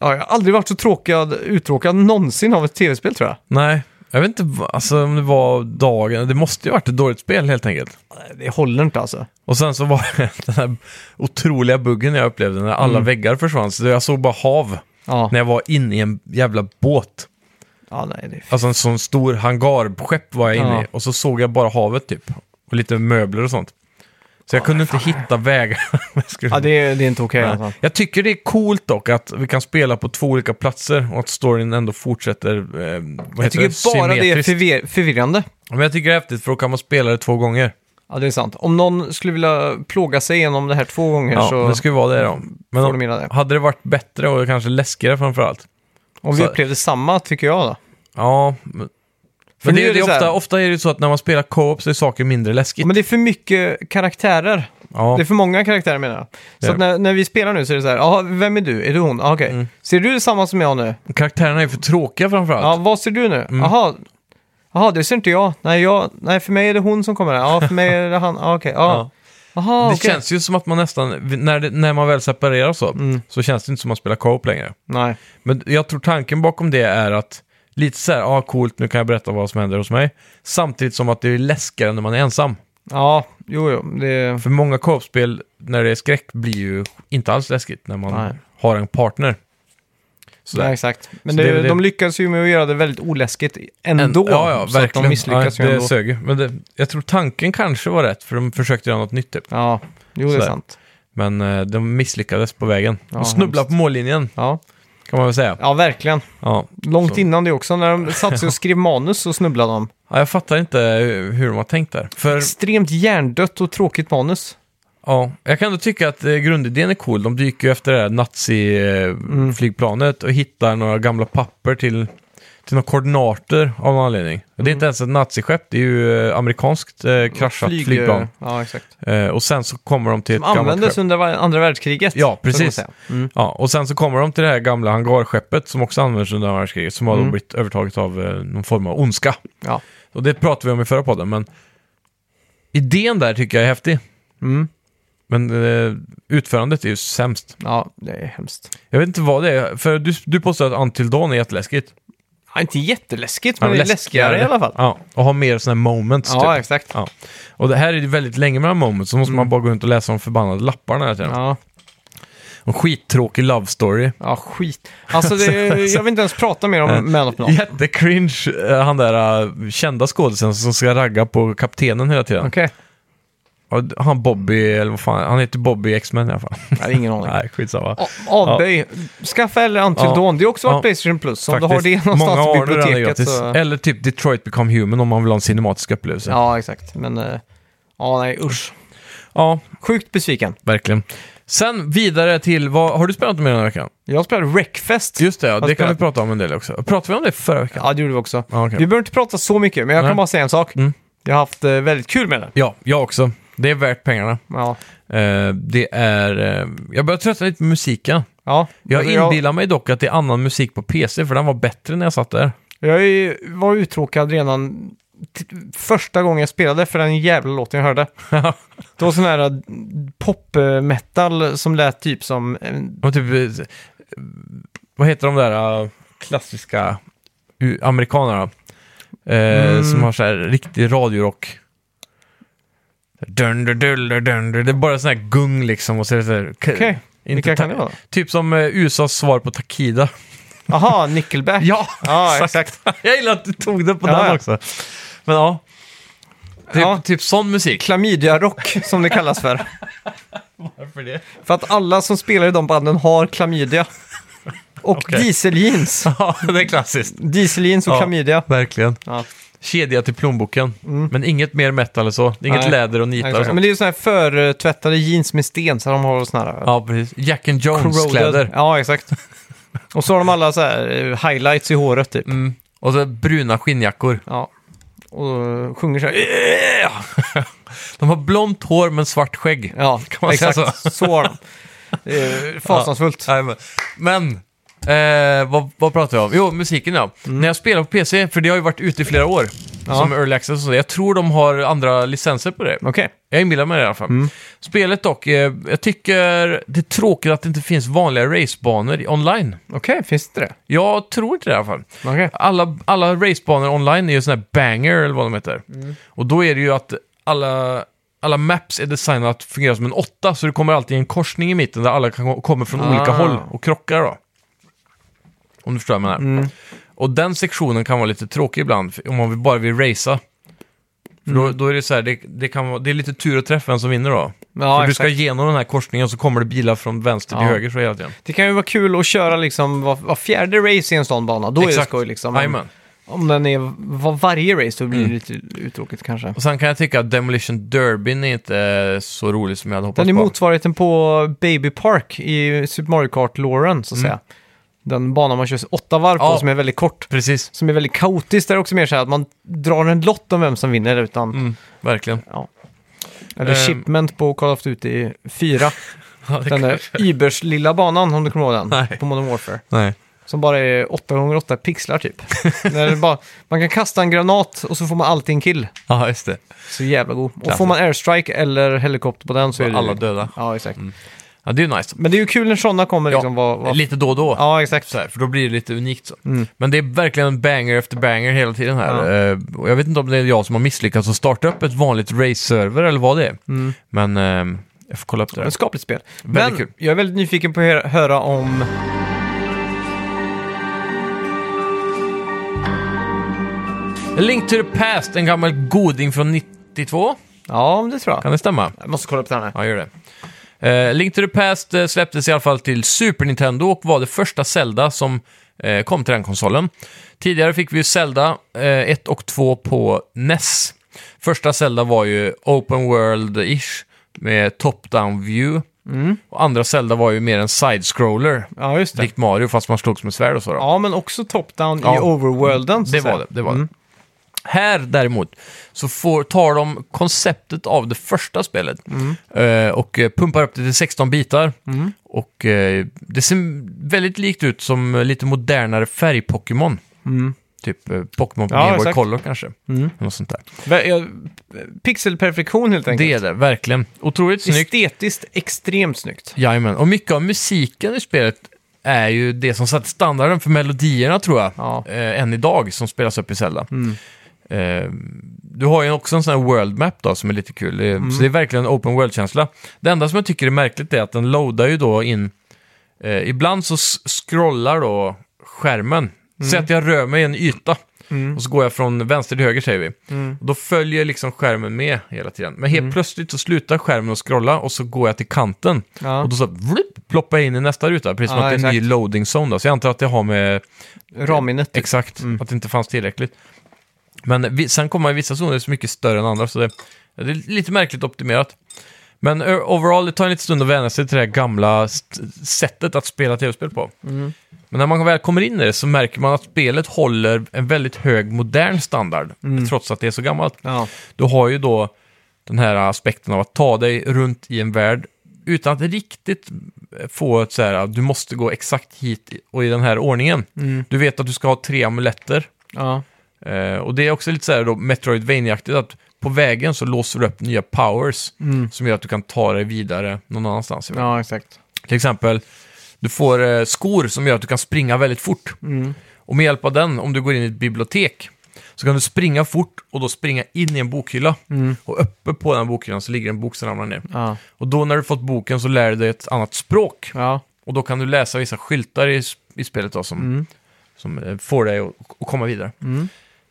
Ja, jag har aldrig varit så tråkad, uttråkad någonsin av ett tv-spel tror jag. Nej, jag vet inte va- alltså, om det var dagen. Det måste ju varit ett dåligt spel helt enkelt. Det håller inte alltså. Och sen så var det <laughs> den här otroliga buggen jag upplevde när alla Mm. väggar försvann. Så jag såg bara hav Ja, när jag var inne i en jävla båt. ja nej, det är Alltså en sån stor hangarskepp var jag inne Ja. i. Och så såg jag bara havet typ. Och lite möbler och sånt. Så jag kunde inte hitta vägar. <laughs> Jag skulle- Ja, det är, det är inte okej Nej. alltså. Eh, Jag tycker det är coolt dock att vi kan spela på två olika platser och att storyn ändå fortsätter eh, vad heter Jag tycker bara det är Symmetriskt. förvir- förvirrande. Men jag tycker det är häftigt för då kan man spela det två gånger. Ja, det är sant. Om någon skulle vilja plåga sig igenom det här två gånger Ja, så det ska ju vara det då. Men får om, de gilla det. hade det varit bättre och kanske läskigare framförallt? Om vi så- upplevde samma, tycker jag då. Ja, men Men det, nu är det så här- ofta, ofta är det så att när man spelar co-op så är saker mindre läskigt. Men det är för mycket karaktärer. ja. Det är för många karaktärer menar jag. Så Ja. Mm. att när, när vi spelar nu så är det så här, jaha, vem är du? Är du hon? Ah, Okej. Ser du samma som jag nu? Karaktärerna är för tråkiga framförallt. Ja, vad ser du nu? Mm. Jaha, Jaha, det ser inte jag. Nej, jag. Nej, för mig är det hon som kommer här. Ja, för mig är det han. Ah, Okej, ja. Ja. Jaha, Det okej. känns ju som att man nästan, när, det, när man väl separerar så, Mm. så känns det inte som att man spelar co-op längre. Nej. Men jag tror tanken bakom det är att lite så här, ja ah, coolt, nu kan jag berätta vad som händer hos mig. Samtidigt som att det är läskigare när man är ensam. Ja, jo, jo. Det... För många co-op-spel, när det är skräck, blir ju inte alls läskigt när man Nej. har en partner. Så Nej, där. exakt. Men Så det, det är väl det- de lyckades ju med att göra det väldigt oläskigt ändå. ja, ja, så att verkligen. de misslyckas ja, ju det ändå. sög ju. Men det, jag tror tanken kanske var rätt, för de försökte göra något nytt typ. Ja, jo, det är Sådär. sant. Men eh, de misslyckades på vägen. Ja, de snubblade hemskt. på mållinjen, Ja, kan man väl säga. ja verkligen. Ja. Långt Så. innan det också. När de satt sig och skrev manus så snubblade <laughs> de. Ja, jag fattar inte hur de har tänkt där. För Extremt hjärndött och tråkigt manus. ja, jag kan ändå tycka att eh, grundidén är cool. De dyker ju efter det här Mm. nazi-flygplanet och hittar några gamla papper till, till några koordinater av någon anledning. Och Det är inte ens ett naziskepp, det är ju eh, amerikanskt eh, kraschat Mm. Flyg- flygplan. Ja, exakt. Eh, och sen så kommer de till De ett gammalt användes skepp. under va- andra världskriget. Ja, så kan man precis. säga. Mm. Ja, och sen så kommer de till det här gamla hangarskeppet som också används under andra världskriget, som har då Mm. blivit övertaget av eh, någon form av ondska. Ja. Och det pratade vi om i förra podden, men idén där tycker jag är häftig. Mm. Men eh, utförandet är ju sämst. ja, det är hemskt. Jag vet inte vad det är, för du, du påstår att Until Dawn är jätteläskigt. Ja, inte jätteläskigt, men det är läskigare, i alla fall. Ja, och har mer sådana här moments Ja, typ. exakt. Mm. Ja. Och det här är ju väldigt länge mellan moments, så måste man bara gå runt och läsa de förbannade lapparna hela tiden. Ja, En skittråkig love story. ja skit. Alltså, det, <laughs> jag vill inte ens prata mer om Man of None. Jättecringe, eh, han där eh, kända skådisen som ska ragga på kaptenen hela tiden. Okej, Och d- Han Bobby, eller vad fan, han heter Bobby i X-Men i alla fall. jag har ingen aning. Nej, skitsamma. A- Avböj. Skaffa eller Until Ja. Dawn. Det är också varit Ja. Playstation Plus. Om du har Faktiskt, det någonstans många i har det redan biblioteket gratis. så... Eller typ Detroit Become Human om man vill ha en cinematisk upplevelse. Ja, Ja, exakt. Men... eh, Ja, nej, usch. Sjukt besviken. verkligen. Sen vidare till, vad, har du spelat mer den här veckan? Jag spelade Wreckfest. Just det, ja, det kan vi spelat. prata om en del också. Pratade vi om det förra veckan? Ja, det gjorde vi också. Ja, okej. Vi behöver inte prata så mycket, men jag Nej. kan bara säga en sak. Mm. Jag har haft eh, väldigt kul med det. Ja, jag också. Det är värt pengarna. Ja. Eh, det är... Eh, jag börjar tröttna lite på musiken. Ja. Jag Alltså, inbillar mig dock att det är annan musik på PC, för den var bättre när jag satt där. Jag, jag är- var uttråkad redan t- första gången jag spelade för den jävla låten jag <laughs> hörde. det var sån här eh, pop-metal som lät typ som... eh, Och typ, eh, vad heter de där eh, klassiska u- amerikanerna? Eh, Mm. Som har så här riktig radiorock. Dun, dun, dun, dun, dun, dun. Det är bara sån här gung liksom. Och så är det så här, k- Okej, inte vilka kan ta- det vara? Typ som eh, USAs svar på Takida. Aha, Nickelback. <laughs> Ja, <laughs> ja exakt. jag gillar att du tog det på Ja, den ja. också. Men ja. Typ, Ja. typ <laughs> sån musik. Klamydia-rock, som det kallas <laughs> för. Varför det? för att alla som spelar i de banden har klamydia. Och Okej. dieseljeans. <laughs> Ja, det är klassiskt. Dieseljeans och Ja. klamydia. Verkligen. Ja. Mm. Kedja till plånboken. Men inget mer metal eller så. Inget Nej. läder och nitar och Exakt. sånt. Men det är ju sådana här förtvättade jeans med sten, så de har sådana här... Ja, precis. Jack and corroded- Jones-kläder. Ja, exakt. Och så har de alla så här eh, highlights i håret typ. Mm. Och så bruna skinnjackor. <laughs> Ja. Och eh, sjunger så här. "Eh!" De har blont hår men svart skägg. Ja, Kan man säga exakt. så? har de. Det <laughs> är Fasansfullt. Nej, men- Men, eh, vad, vad pratar jag om? Jo, musiken ja. När jag spelar på PC, för det har ju varit ute i flera år, Ja. som Early Access och så. Jag tror de har andra licenser på det. Okej. Jag inbillar mig det i alla fall. Spelet dock, eh, jag tycker det är tråkigt att det inte finns vanliga racebanor i- online. Okej, finns det det? Jag tror inte det i alla fall. Okej. Alla, alla racebanor online är ju sådana här banger eller vad de heter. Mm. Och då är det ju att alla, alla maps är designade att fungera som en åtta, så det kommer alltid en korsning i mitten där alla kan, kommer från olika Ah. håll och krockar då. Om du förstår vad jag Mm. menar. Och den sektionen kan vara lite tråkig ibland, om man vill- bara vill racea. För då, Mm. då är det så här, det, det, kan vara, det är lite tur att träffa vem som vinner då. Ja, För du exakt. ska igenom den här korsningen så kommer det bilar från vänster till Ja. höger så hela tiden. Det kan ju vara kul att köra liksom var, var fjärde race i en sån bana. Då är det skoj liksom. Men Jajamän. Mm. Om den är var varje race då blir det lite uttråkigt kanske. Och sen kan jag tycka att Demolition Derbyn är inte eh, så rolig som jag hade hoppats Den är på. motsvarigheten på Baby Park i Super Mario Kart-låren så att säga. Den banan man kör åtta varv på Mm. Ja. som är väldigt kort. Precis, Som är väldigt kaotiskt. Där är det också mer så här att man drar en lott om vem som vinner. Utan, Mm. verkligen. ja. Eller Ehm. shipment på Call of Duty 4. <laughs> Ja, det Den kan- där Ibers lilla banan, om du kommer ihåg den, Nej. på Modern Warfare. Nej. Som bara är 8x8 pixlar <laughs> typ. När det bara, man kan kasta en granat och så får man alltid en kill. Ja, just det. Så jävla god. Och Klassiskt. får man airstrike eller helikopter på den så är det ju- Alla döda. Ja, exakt. Ja, det är ju nice. Men det är ju kul när sådana kommer Ja, liksom. Vad, vad... Lite då och då. Ja, Mm. exakt. Så här, för då blir det lite unikt. Så. Men det är verkligen banger efter banger hela tiden här. Eh, och jag vet inte om det är jag som har misslyckats att starta upp ett vanligt race-server eller vad det är. Mm. Men eh, jag får kolla upp det Men där. skapligt spel. Men Väldigt kul. jag är väldigt nyfiken på att hö- höra om... A Link to the Past, en gammal goding från 92. Ja, det tror jag. Kan det stämma? Jag måste kolla upp den här. Ja, gör det. Eh, Link to the Past eh, släpptes i alla fall till Super Nintendo och var det första Zelda som eh, kom till den konsolen. Tidigare fick vi ju Zelda eh, 1 och 2 på NES. Första Zelda var ju Open World-ish med top-down view. Och andra Zelda var ju mer en side-scroller, Ja, just det. likt Mario, fast man slogs med svärd och så. Då. Ja, men också top-down i Ja. overworlden. <laughs> så Det att säga. Mm. var det. det, var det. Här däremot så får, tar de konceptet av det första spelet Mm. eh, och eh, pumpar upp det till 16 bitar. Och eh, det ser väldigt likt ut som eh, lite modernare färg-Pokémon. Mm. Typ eh, Pokémon på Ja, Game Boy exakt. Mm. Color kanske. Något sånt där. Ver- ja, Pixelperfektion helt enkelt. Det är det, verkligen. Otroligt snyggt. Estetiskt extremt snyggt. Jajamän. Och mycket av musiken i spelet är ju det som satte standarden för melodierna tror jag. Ja. eh, än idag som spelas upp i Zelda. Mm. Eh, du har ju också en sån här world map då som är lite kul. Eh, Mm. Så det är verkligen en open world-känsla. Det enda som jag tycker är märkligt är att den loadar ju då in... Eh, ibland så s- scrollar då skärmen. Mm. Säg att jag rör mig i en yta. Och så går jag från vänster till höger säger vi. Och då följer liksom skärmen med hela tiden. Men helt Mm. plötsligt så slutar skärmen att scrolla och så går jag till kanten. Ja. Och då så vlup, ploppar jag in i nästa ruta. Precis som Ja, att det är en ny exakt. loading zone då. Så jag antar att det har med Ramminnet. typ. Exakt, att det inte fanns tillräckligt. Men vi, sen kommer vissa zoner som är mycket större än andra, så det, det är lite märkligt optimerat. Men ö- overall, det tar en liten stund att vänja sig till det här gamla st- sättet att spela tv-spel på. Men när man väl kommer in i det så märker man att spelet håller en väldigt hög modern standard, trots att det är så gammalt. Ja. Du har ju då den här aspekten av att ta dig runt i en värld utan att riktigt få ett så här, att du måste gå exakt hit och i den här ordningen. Du vet att du ska ha tre amuletter. Ja. Eh, och det är också lite så här då Metroidvania-aktigt att på vägen så låser du upp nya powers som gör att du kan ta dig vidare någon annanstans. ja, exakt. Till exempel, du får eh, skor som gör att du kan springa väldigt fort. Och med hjälp av den, om du går in i ett bibliotek, så kan du springa fort och då springa in i en bokhylla. Och uppe på den bokhyllan så ligger en bok som ramlar ner. Mm. Ja. Och då när du fått boken så lär du dig ett annat språk. Ja. Och då kan du läsa vissa skyltar i, i spelet då, som, Mm. som eh, får dig att, att komma vidare.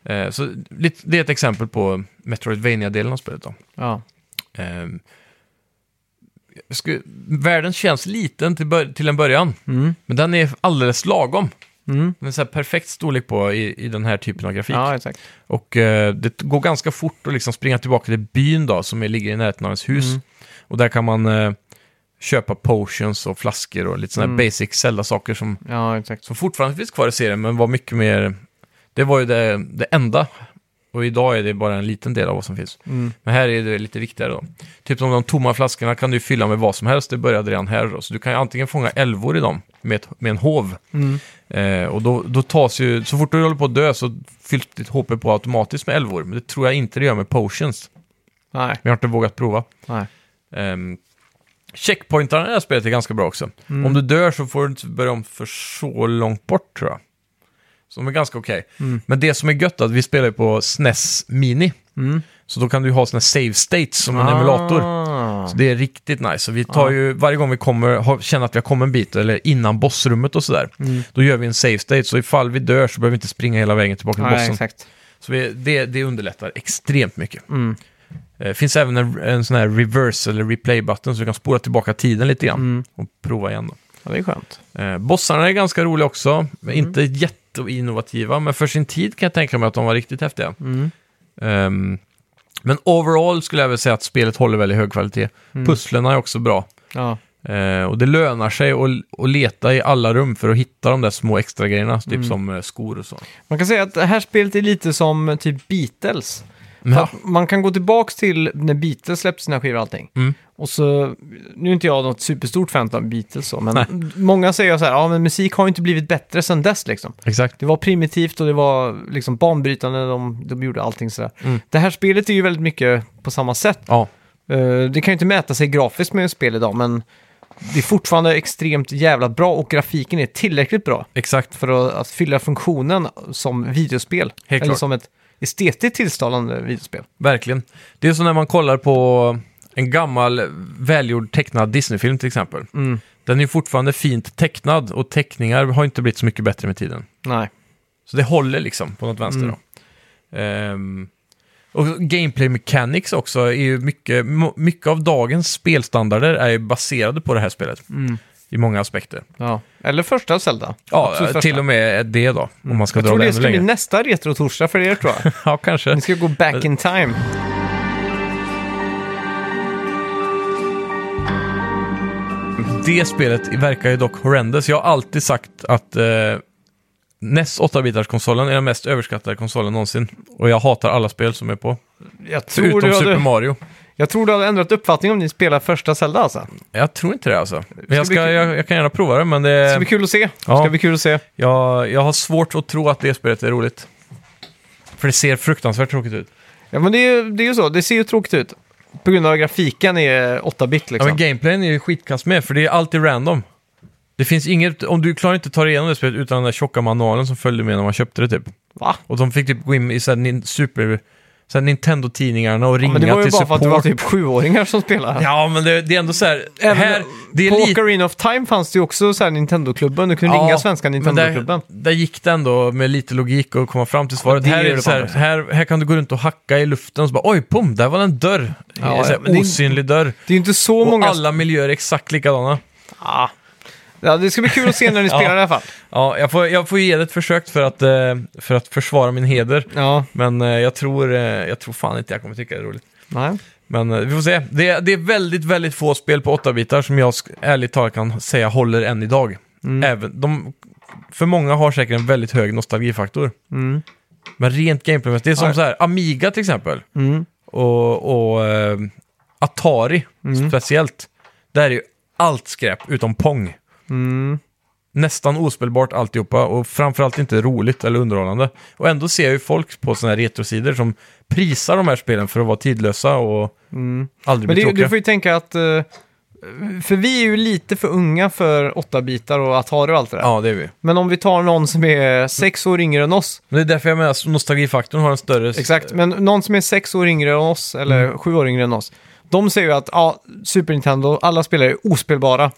Eh, så lite- det är ett exempel på Metroidvania-delen av spelet. Då. Ja. Ehm, jag skulle, världen känns liten till, bör, till en början, men den är alldeles lagom. Mm. Den är så här perfekt storlek på i, i den här typen av grafik. ja, exakt. Och eh, det går ganska fort att liksom springa tillbaka till byn då, som är, ligger i närheten av ens hus. Och där kan man eh, köpa potions och flaskor och lite sådana här basic Zelda-saker som, Ja, exakt. som fortfarande finns kvar i serien, men var mycket mer... Det var ju det, det enda. Och idag är det bara en liten del av vad som finns. Mm. Men här är det lite viktigare då. Typ som de tomma flaskorna kan du fylla med vad som helst. Det började redan här då. Så du kan ju antingen fånga älvor i dem med, ett, med en hov. Mm. Eh, och då, då tas ju, så fort du håller på att dö så fylls ditt HP på automatiskt med älvor. Men det tror jag inte det gör med potions. Nej. Men jag har inte vågat prova. Nej. Um, checkpointarna i det här spelet är ganska bra också. Om du dör så får du inte börja om för så långt bort tror jag. Så de är ganska okej. Men det som är gött är att vi spelar ju på SNES Mini. Så då kan du ju ha såna här save states som en emulator. Ah. Så det är riktigt nice. Så vi tar ju, varje gång vi kommer, har, känner att vi har kommit en bit, eller innan bossrummet och sådär, Mm. då gör vi en save state. Så ifall vi dör så behöver vi inte springa hela vägen tillbaka till Nej, bossen. exakt. Mm. Så vi, det, det underlättar extremt mycket. Eh, finns även en, en sån här reverse eller replay-button så du kan spola tillbaka tiden lite Mm. grann och prova igen. Då. Ja, det är skönt. Eh, bossarna är ganska roliga också, Mm. men inte jätteinnovativa, men för sin tid kan jag tänka mig att de var riktigt häftiga. Mm. Ehm, Mm. men overall skulle jag väl säga att spelet håller väldigt hög kvalitet. Pusslerna är också bra. Ja. Eh, och det lönar sig att, att leta i alla rum för att hitta de där små extra grejerna, typ Mm. som eh, skor och så. Man kan säga att det här spelet är lite som eh, typ Beatles. Ja. För att Man kan gå tillbaka till när Beatles släppte sina skivor och allting. Mm. Och så, nu är inte jag något superstort fan av Beatles så, men många säger så här, ja men musik har ju inte blivit bättre sedan dess liksom. Exakt. Det var primitivt och det var liksom banbrytande, de, de gjorde allting sådär. Mm. Det här spelet är ju väldigt mycket på samma sätt. Ja, Eh, det kan ju inte mäta sig grafiskt med spel idag, men det är fortfarande extremt jävla bra och grafiken är tillräckligt bra exakt. för att, att fylla funktionen som videospel. Helt eller klart. som ett estetiskt tilltalande videospel. Verkligen. Det är som när man kollar på en gammal välgjord tecknad Disney-film till exempel. Mm. Den är ju fortfarande fint tecknad och teckningar har inte blivit så mycket bättre med tiden. Nej. Så det håller liksom på något vänster Mm. då. Ehm, och gameplay mechanics också är ju mycket, mo- mycket av dagens spelstandarder är ju baserade på det här spelet. Mm. I många aspekter. Ja. Eller första Zelda. Ja, Absolut första. till och med det då, om man ska Jag dra tror det det ännu ska bli längre. nästa retro-torsdag för er tror <laughs> jag. Ja, kanske. Ni ska gå back in time. Det spelet verkar ju dock horrendous. Jag har alltid sagt att eh, NES 8-bitars-konsolen är den mest överskattade konsolen någonsin. Och jag hatar alla spel som är på. Jag tror, Förutom du Super hade, Mario. jag tror du hade ändrat uppfattning om ni spelar första Zelda alltså. Jag tror inte det alltså. Men jag, bli ska, kul. jag, jag kan gärna prova det, men Det ska det, bli kul att se. Ehm, Ja. Ska bli kul att se. jag, jag har svårt att tro att det spelet är roligt. För det ser fruktansvärt tråkigt ut. Ja men det är, ju- det är ju så, det ser ju tråkigt ut. På grund av att grafiken är 8-bit Ja, liksom. men gameplayen är ju skitkass med, för det är alltid random. Det finns inget, om du klarar inte att ta dig igenom det spelet utan den där tjocka manualen som följde med när man köpte det typ. Va? Och de fick typ gå in i så här nin- super... så här Nintendo-tidningarna och ringa Men det var ju till bara för att det var support. typ sjuåringar som spelade. här. Ja, men det, det är ändå så här... Även här det är på lite... Ocarina of Time fanns det ju också så här Nintendo-klubben. Du kunde Ja, ringa svenska men Nintendo-klubben. Där, där gick det ändå med lite logik att komma fram till svaret. det här, gör är det det så här, fan. här, här kan du gå runt och hacka i luften och så bara oj, pum, där var en dörr. Ja, så ja, men det- här, osynlig dörr. Det är ju inte så Och många... alla miljöer är exakt likadana. Ah. Ja, det ska bli kul att se när ni spelar <laughs> Ja. i alla fall. Ja, jag får, jag får ge det ett försök för att, eh, för att försvara min heder. Ja, Men eh, jag tror, eh, jag tror fan inte jag kommer tycka det är roligt. nej. Men eh, vi får se. Det, det är väldigt, väldigt få spel på 8-bitar som jag sk- ärligt talat kan säga håller än idag. Mm. Även, de, för många har säkert en väldigt hög nostalgifaktor. Mm. Men rent gameplaymässigt, det är som Ja. så här, Amiga till exempel Mm. och, och eh, Atari Mm. speciellt. Där är ju allt skräp utom Pong. Mm. Nästan ospelbart alltihopa och framförallt inte roligt eller underhållande. Och ändå ser jag ju folk på sådana här retrosidor som prisar de här spelen för att vara tidlösa och aldrig mm. Men bli det, tråkiga. du får ju tänka att... eh, För vi är ju lite för unga för åtta bitar och Atari och allt det där. Ja, det är vi. Men om vi tar någon som är sex år yngre än oss. Men det är därför jag menar att nostalgifaktorn har en större... Exakt, men någon som är sex år yngre än oss, eller Mm. sju år yngre än oss. De säger ju att ja, Super Nintendo, alla spelare är ospelbara.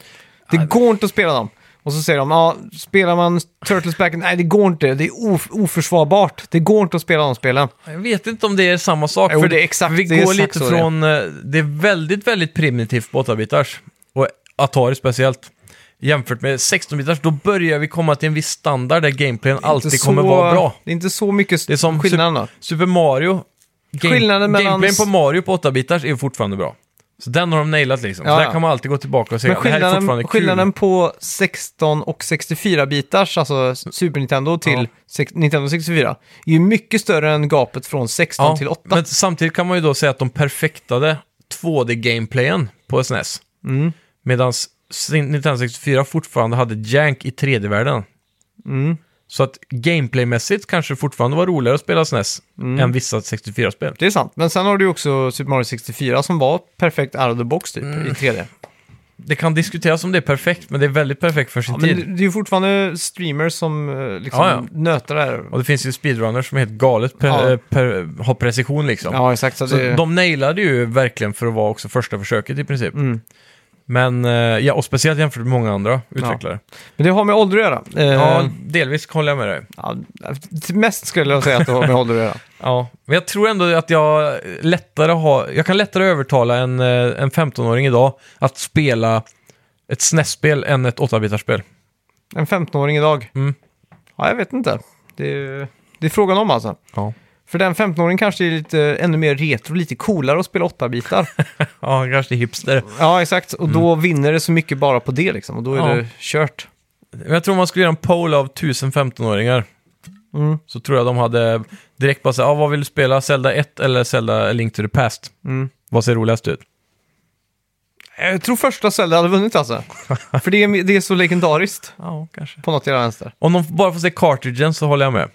Det går inte att spela dem. Och så säger de, ja, spelar man Turtles Back, nej det går inte, det är of- oförsvarbart. Det går inte att spela de spelen. Jag vet inte om det är samma sak. Jo, det är exakt- Vi det är går exakt lite så det är. från... eh, Det är väldigt, väldigt primitivt på 8-bitars. Och Atari speciellt. Jämfört med 16-bitars, då börjar vi komma till en viss standard där gameplayen alltid Inte så- kommer vara bra. Det är inte så mycket Det är som skillnad då. Sup- Super Mario. Game, Skillnaden mellan- Gameplayen på Mario på 8-bitars är ju fortfarande bra. Så den har de nailat liksom. Ja, Så där ja. kan man alltid gå tillbaka och säga Men att det här är fortfarande skillnaden, kul. skillnaden på 16 och 64-bitars, alltså Super Nintendo till Ja. sex- Nintendo 64, är ju mycket större än gapet från 16 till 8. Men samtidigt kan man ju då säga att de perfektade 2D-gameplayen på SNES. Mm. Medan Nintendo 64 fortfarande hade jank i 3D-världen. Mm. Så att gameplaymässigt kanske det fortfarande var roligare att spela SNES Mm. än vissa 64-spel. Det är sant, men sen har du ju också Super Mario 64 som var perfekt out of the box typ Mm. i 3D. Det kan diskuteras om det är perfekt, men det är väldigt perfekt för sin Ja, men tid. det, det är ju fortfarande streamers som eh, liksom Ja, ja. nöter det här. Och det finns ju speedrunners som är helt galet pre- Ja. eh, per- har precision liksom. Ja, exakt. Så Så det, de nailade ju verkligen för att vara också första försöket i princip. Mm. Men, eh, ja, och speciellt jämfört med många andra utvecklare. Men det har med ålder att göra. Eh, Ja, ja. delvis håller jag med dig. mest skulle jag säga att det har med ålder att göra. Ja, men jag tror ändå att jag lättare har, jag kan lättare övertala en, eh, en 15-åring idag att spela ett SNES-spel än ett 8-bitarspel. En 15-åring idag? Mm. Ja, jag vet inte. Det är, det är frågan om alltså. Ja. För den 15-åringen kanske är lite, ännu mer retro, lite coolare att spela <laughs> 8-bitar. Ja, kanske hipster. ja, exakt. Och då vinner det så mycket bara på det liksom. Och då är Mm. Ja. det kört. Men Jag tror man skulle göra en poll av 1015-åringar. Mm. Så tror jag de hade direkt bara såhär, ah, vad vill du spela? Zelda 1 eller Zelda A Link to the Past? Mm. Vad ser roligast ut? Jag tror första Zelda hade vunnit <laughs> alltså. För det är, det är så legendariskt Ja, kanske. på något jävla vänster. Om de bara får se cartridgen så håller jag med.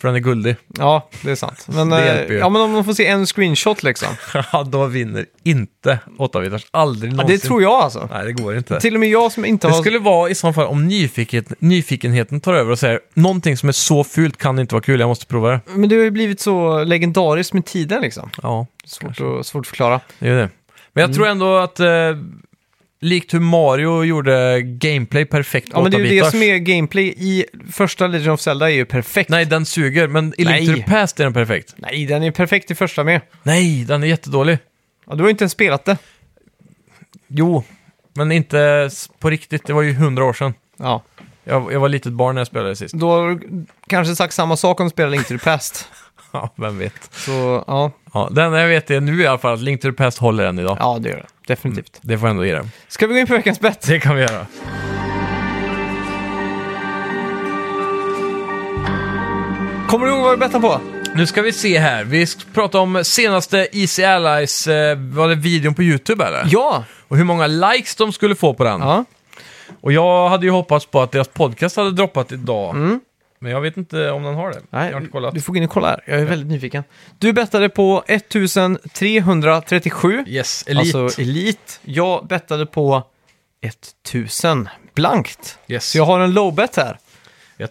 För den är <laughs> guldig. Ja, det är sant. Men, Det eh, hjälper ju. ja, men om man får se en screenshot liksom. Ja, då vinner inte 8-bitars. Aldrig Ja, någonsin. det tror jag alltså. Nej, det går inte. Till och med jag som inte Det har... skulle vara i så fall om nyfikenheten, nyfikenheten tar över och säger någonting som är så fult kan inte vara kul, jag måste prova det. Men det har ju blivit så legendariskt med tiden liksom. Ja, Svårt, att, svårt att förklara. det är det. Men jag tror ändå att eh, likt hur Mario gjorde gameplay perfekt på Ja, men det är ju det 8-bitars. som är gameplay i första Legend of Zelda är ju perfekt. Nej, den suger, men i Link to the Nej. Past är den perfekt. Nej, den är perfekt i första med. Nej, den är jättedålig. Ja, du har ju inte ens spelat det. Jo, men inte s- på riktigt. Det var ju hundra år sedan. Ja, Jag, jag var litet barn när jag spelade sist. då har du kanske sagt samma sak om du spelar Link to the Past. <laughs> Ja, vem vet. Så ja, Ja, det enda jag vet är nu i alla fall att Link to the Past håller än idag. ja det gör det. Definitivt. Det får jag ändå ge den. Mm. Ska vi gå in på veckans bett? Det kan vi göra. Kommer du ihåg vad vi bettade på? Nu ska vi se här. Vi ska prata om senaste Easy Allies, eh, var det videon på YouTube eller? Ja! Och hur många likes de skulle få på den. Ja, Och jag hade ju hoppats på att deras podcast hade droppat idag. Men jag vet inte om den har det. Mm. Nej, jag har inte kollat. du får gå in och kolla här. Jag är väldigt nyfiken. Du bettade på 1337. Yes, Elite. Alltså elit. Jag bettade på 1000 blankt. yes. Så jag jag... har en low bet här.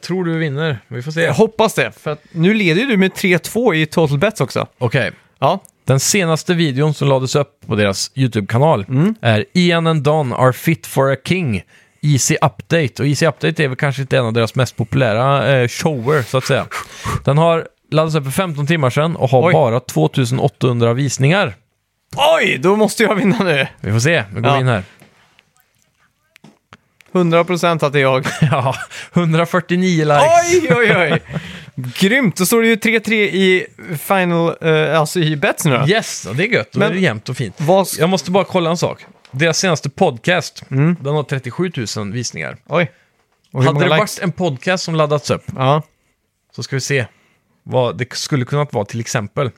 tror du vinner. Vi får Jag se. hoppas det, för att nu leder ju du med 3-2 i total bets också. Okej. Ja, Den senaste videon som lades upp på deras YouTube-kanal Mm. är Ian and Don are fit for a king. Easy Update. Och Easy Update är väl kanske inte en av deras mest populära eh, shower, så att säga. Den har laddats upp för 15 timmar sedan och har Oj. bara 2800 visningar. Oj, då måste jag vinna nu. Vi får se, vi går Ja. <laughs> in här. 100% att det är jag. Ja, 149 likes. Oj, oj, oj. <laughs> Grymt, då står det ju 3-3 i final, eh, alltså i bets nu då. Yes, ja, det är gött. Då Men- är det jämnt och fint. Vad sk- Jag måste bara kolla en sak. Deras senaste podcast, den har 37 000 visningar. Oj. Mm. Och hur Hade många det likes? varit en podcast som laddats upp, Ja. så ska vi se vad det skulle kunnat vara till exempel.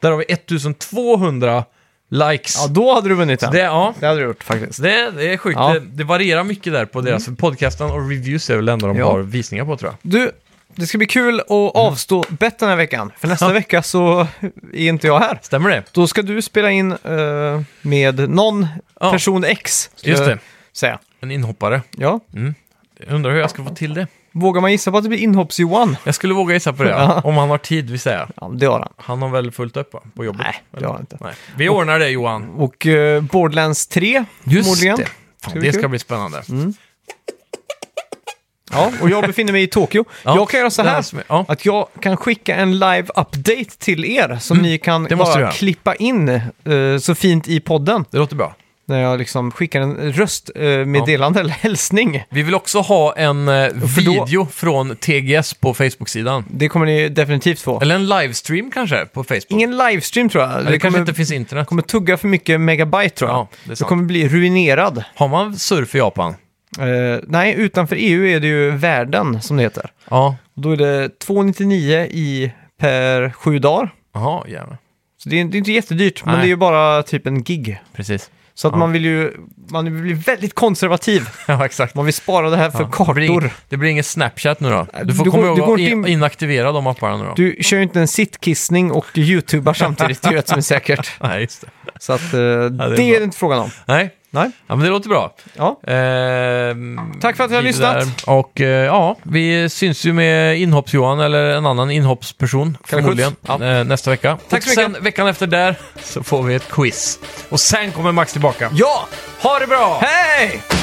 Där har vi 1200 likes. Mm. ja, då hade du vunnit den. det, ja. Det hade du gjort faktiskt. Det, det är sjukt. Ja. Mm. Det, det varierar mycket där på deras. Podcasten och reviews är väl det enda de Ja. har visningar på tror jag. Du, det ska bli kul att avstå bett den här veckan. För nästa vecka så är inte jag här. Stämmer det? Då ska du spela in eh, med någon Ja. person X. ska Just jag det. Säga. En inhoppare. Ja. Jag undrar hur jag ska få till det. Vågar man gissa på att det blir inhopps-Johan? Jag skulle våga gissa på det, ja. om han har tid vill säga. Ja, det har han. Han har väl fullt upp va? på jobbet? Nej, det Eller? har han inte. Nej. Vi ordnar det Johan. Och eh, Borderlands 3, förmodligen. det. Fan, bli det ska kul. Mm. bli spännande. Ja, och jag befinner mig i Tokyo. Ja, jag kan göra så det här, här som är- ja. att jag kan skicka en live-update till er som ni kan Mm. det måste du bara göra. klippa in eh, så fint i podden. Det låter bra. När jag liksom skickar en röstmeddelande eller hälsning. Vi vill också ha en eh, för då- video från TGS på Facebook-sidan. Det kommer ni definitivt få. Eller en livestream kanske på Facebook. Ingen livestream tror jag. Eller det kanske kommer, inte finns internet. kommer tugga för mycket megabyte tror jag. Ja, det är sant. jag kommer bli ruinerad. Har man surf i Japan? Eh, nej, utanför EU är det ju världen som det heter. Ja. Och Då är det 2,99 i per sju dagar. Jaha, jävlar. Så det är, det är inte jättedyrt, men Nej. det är ju bara typ en gig. Precis. Så att Ja. man vill ju man vill bli väldigt konservativ. <laughs> Ja, exakt. Man vill spara det här för Ja. Det blir kartor. ing- Det blir ingen Snapchat nu då. Du får Du komma går- ihåg du går att in, inte in- inaktivera de apparna nu då. Du kör ju inte en sittkissning och du youtubar samtidigt, det är ju ett som är säkert. Nej, just det. Så att, eh, det, är är bra. det inte frågan om. Nej. Nej. Ja, men det låter bra. Ja. Ehm, Tack för att ni har vi är lyssnat. där. Och eh, ja, vi syns ju med inhopps-Johan eller en annan inhoppsperson förmodligen skjuts. eh, nästa vecka. Tack så och mycket. sen veckan efter där så får vi ett quiz. Och sen kommer Max tillbaka. Ja! Ha det bra! Hej!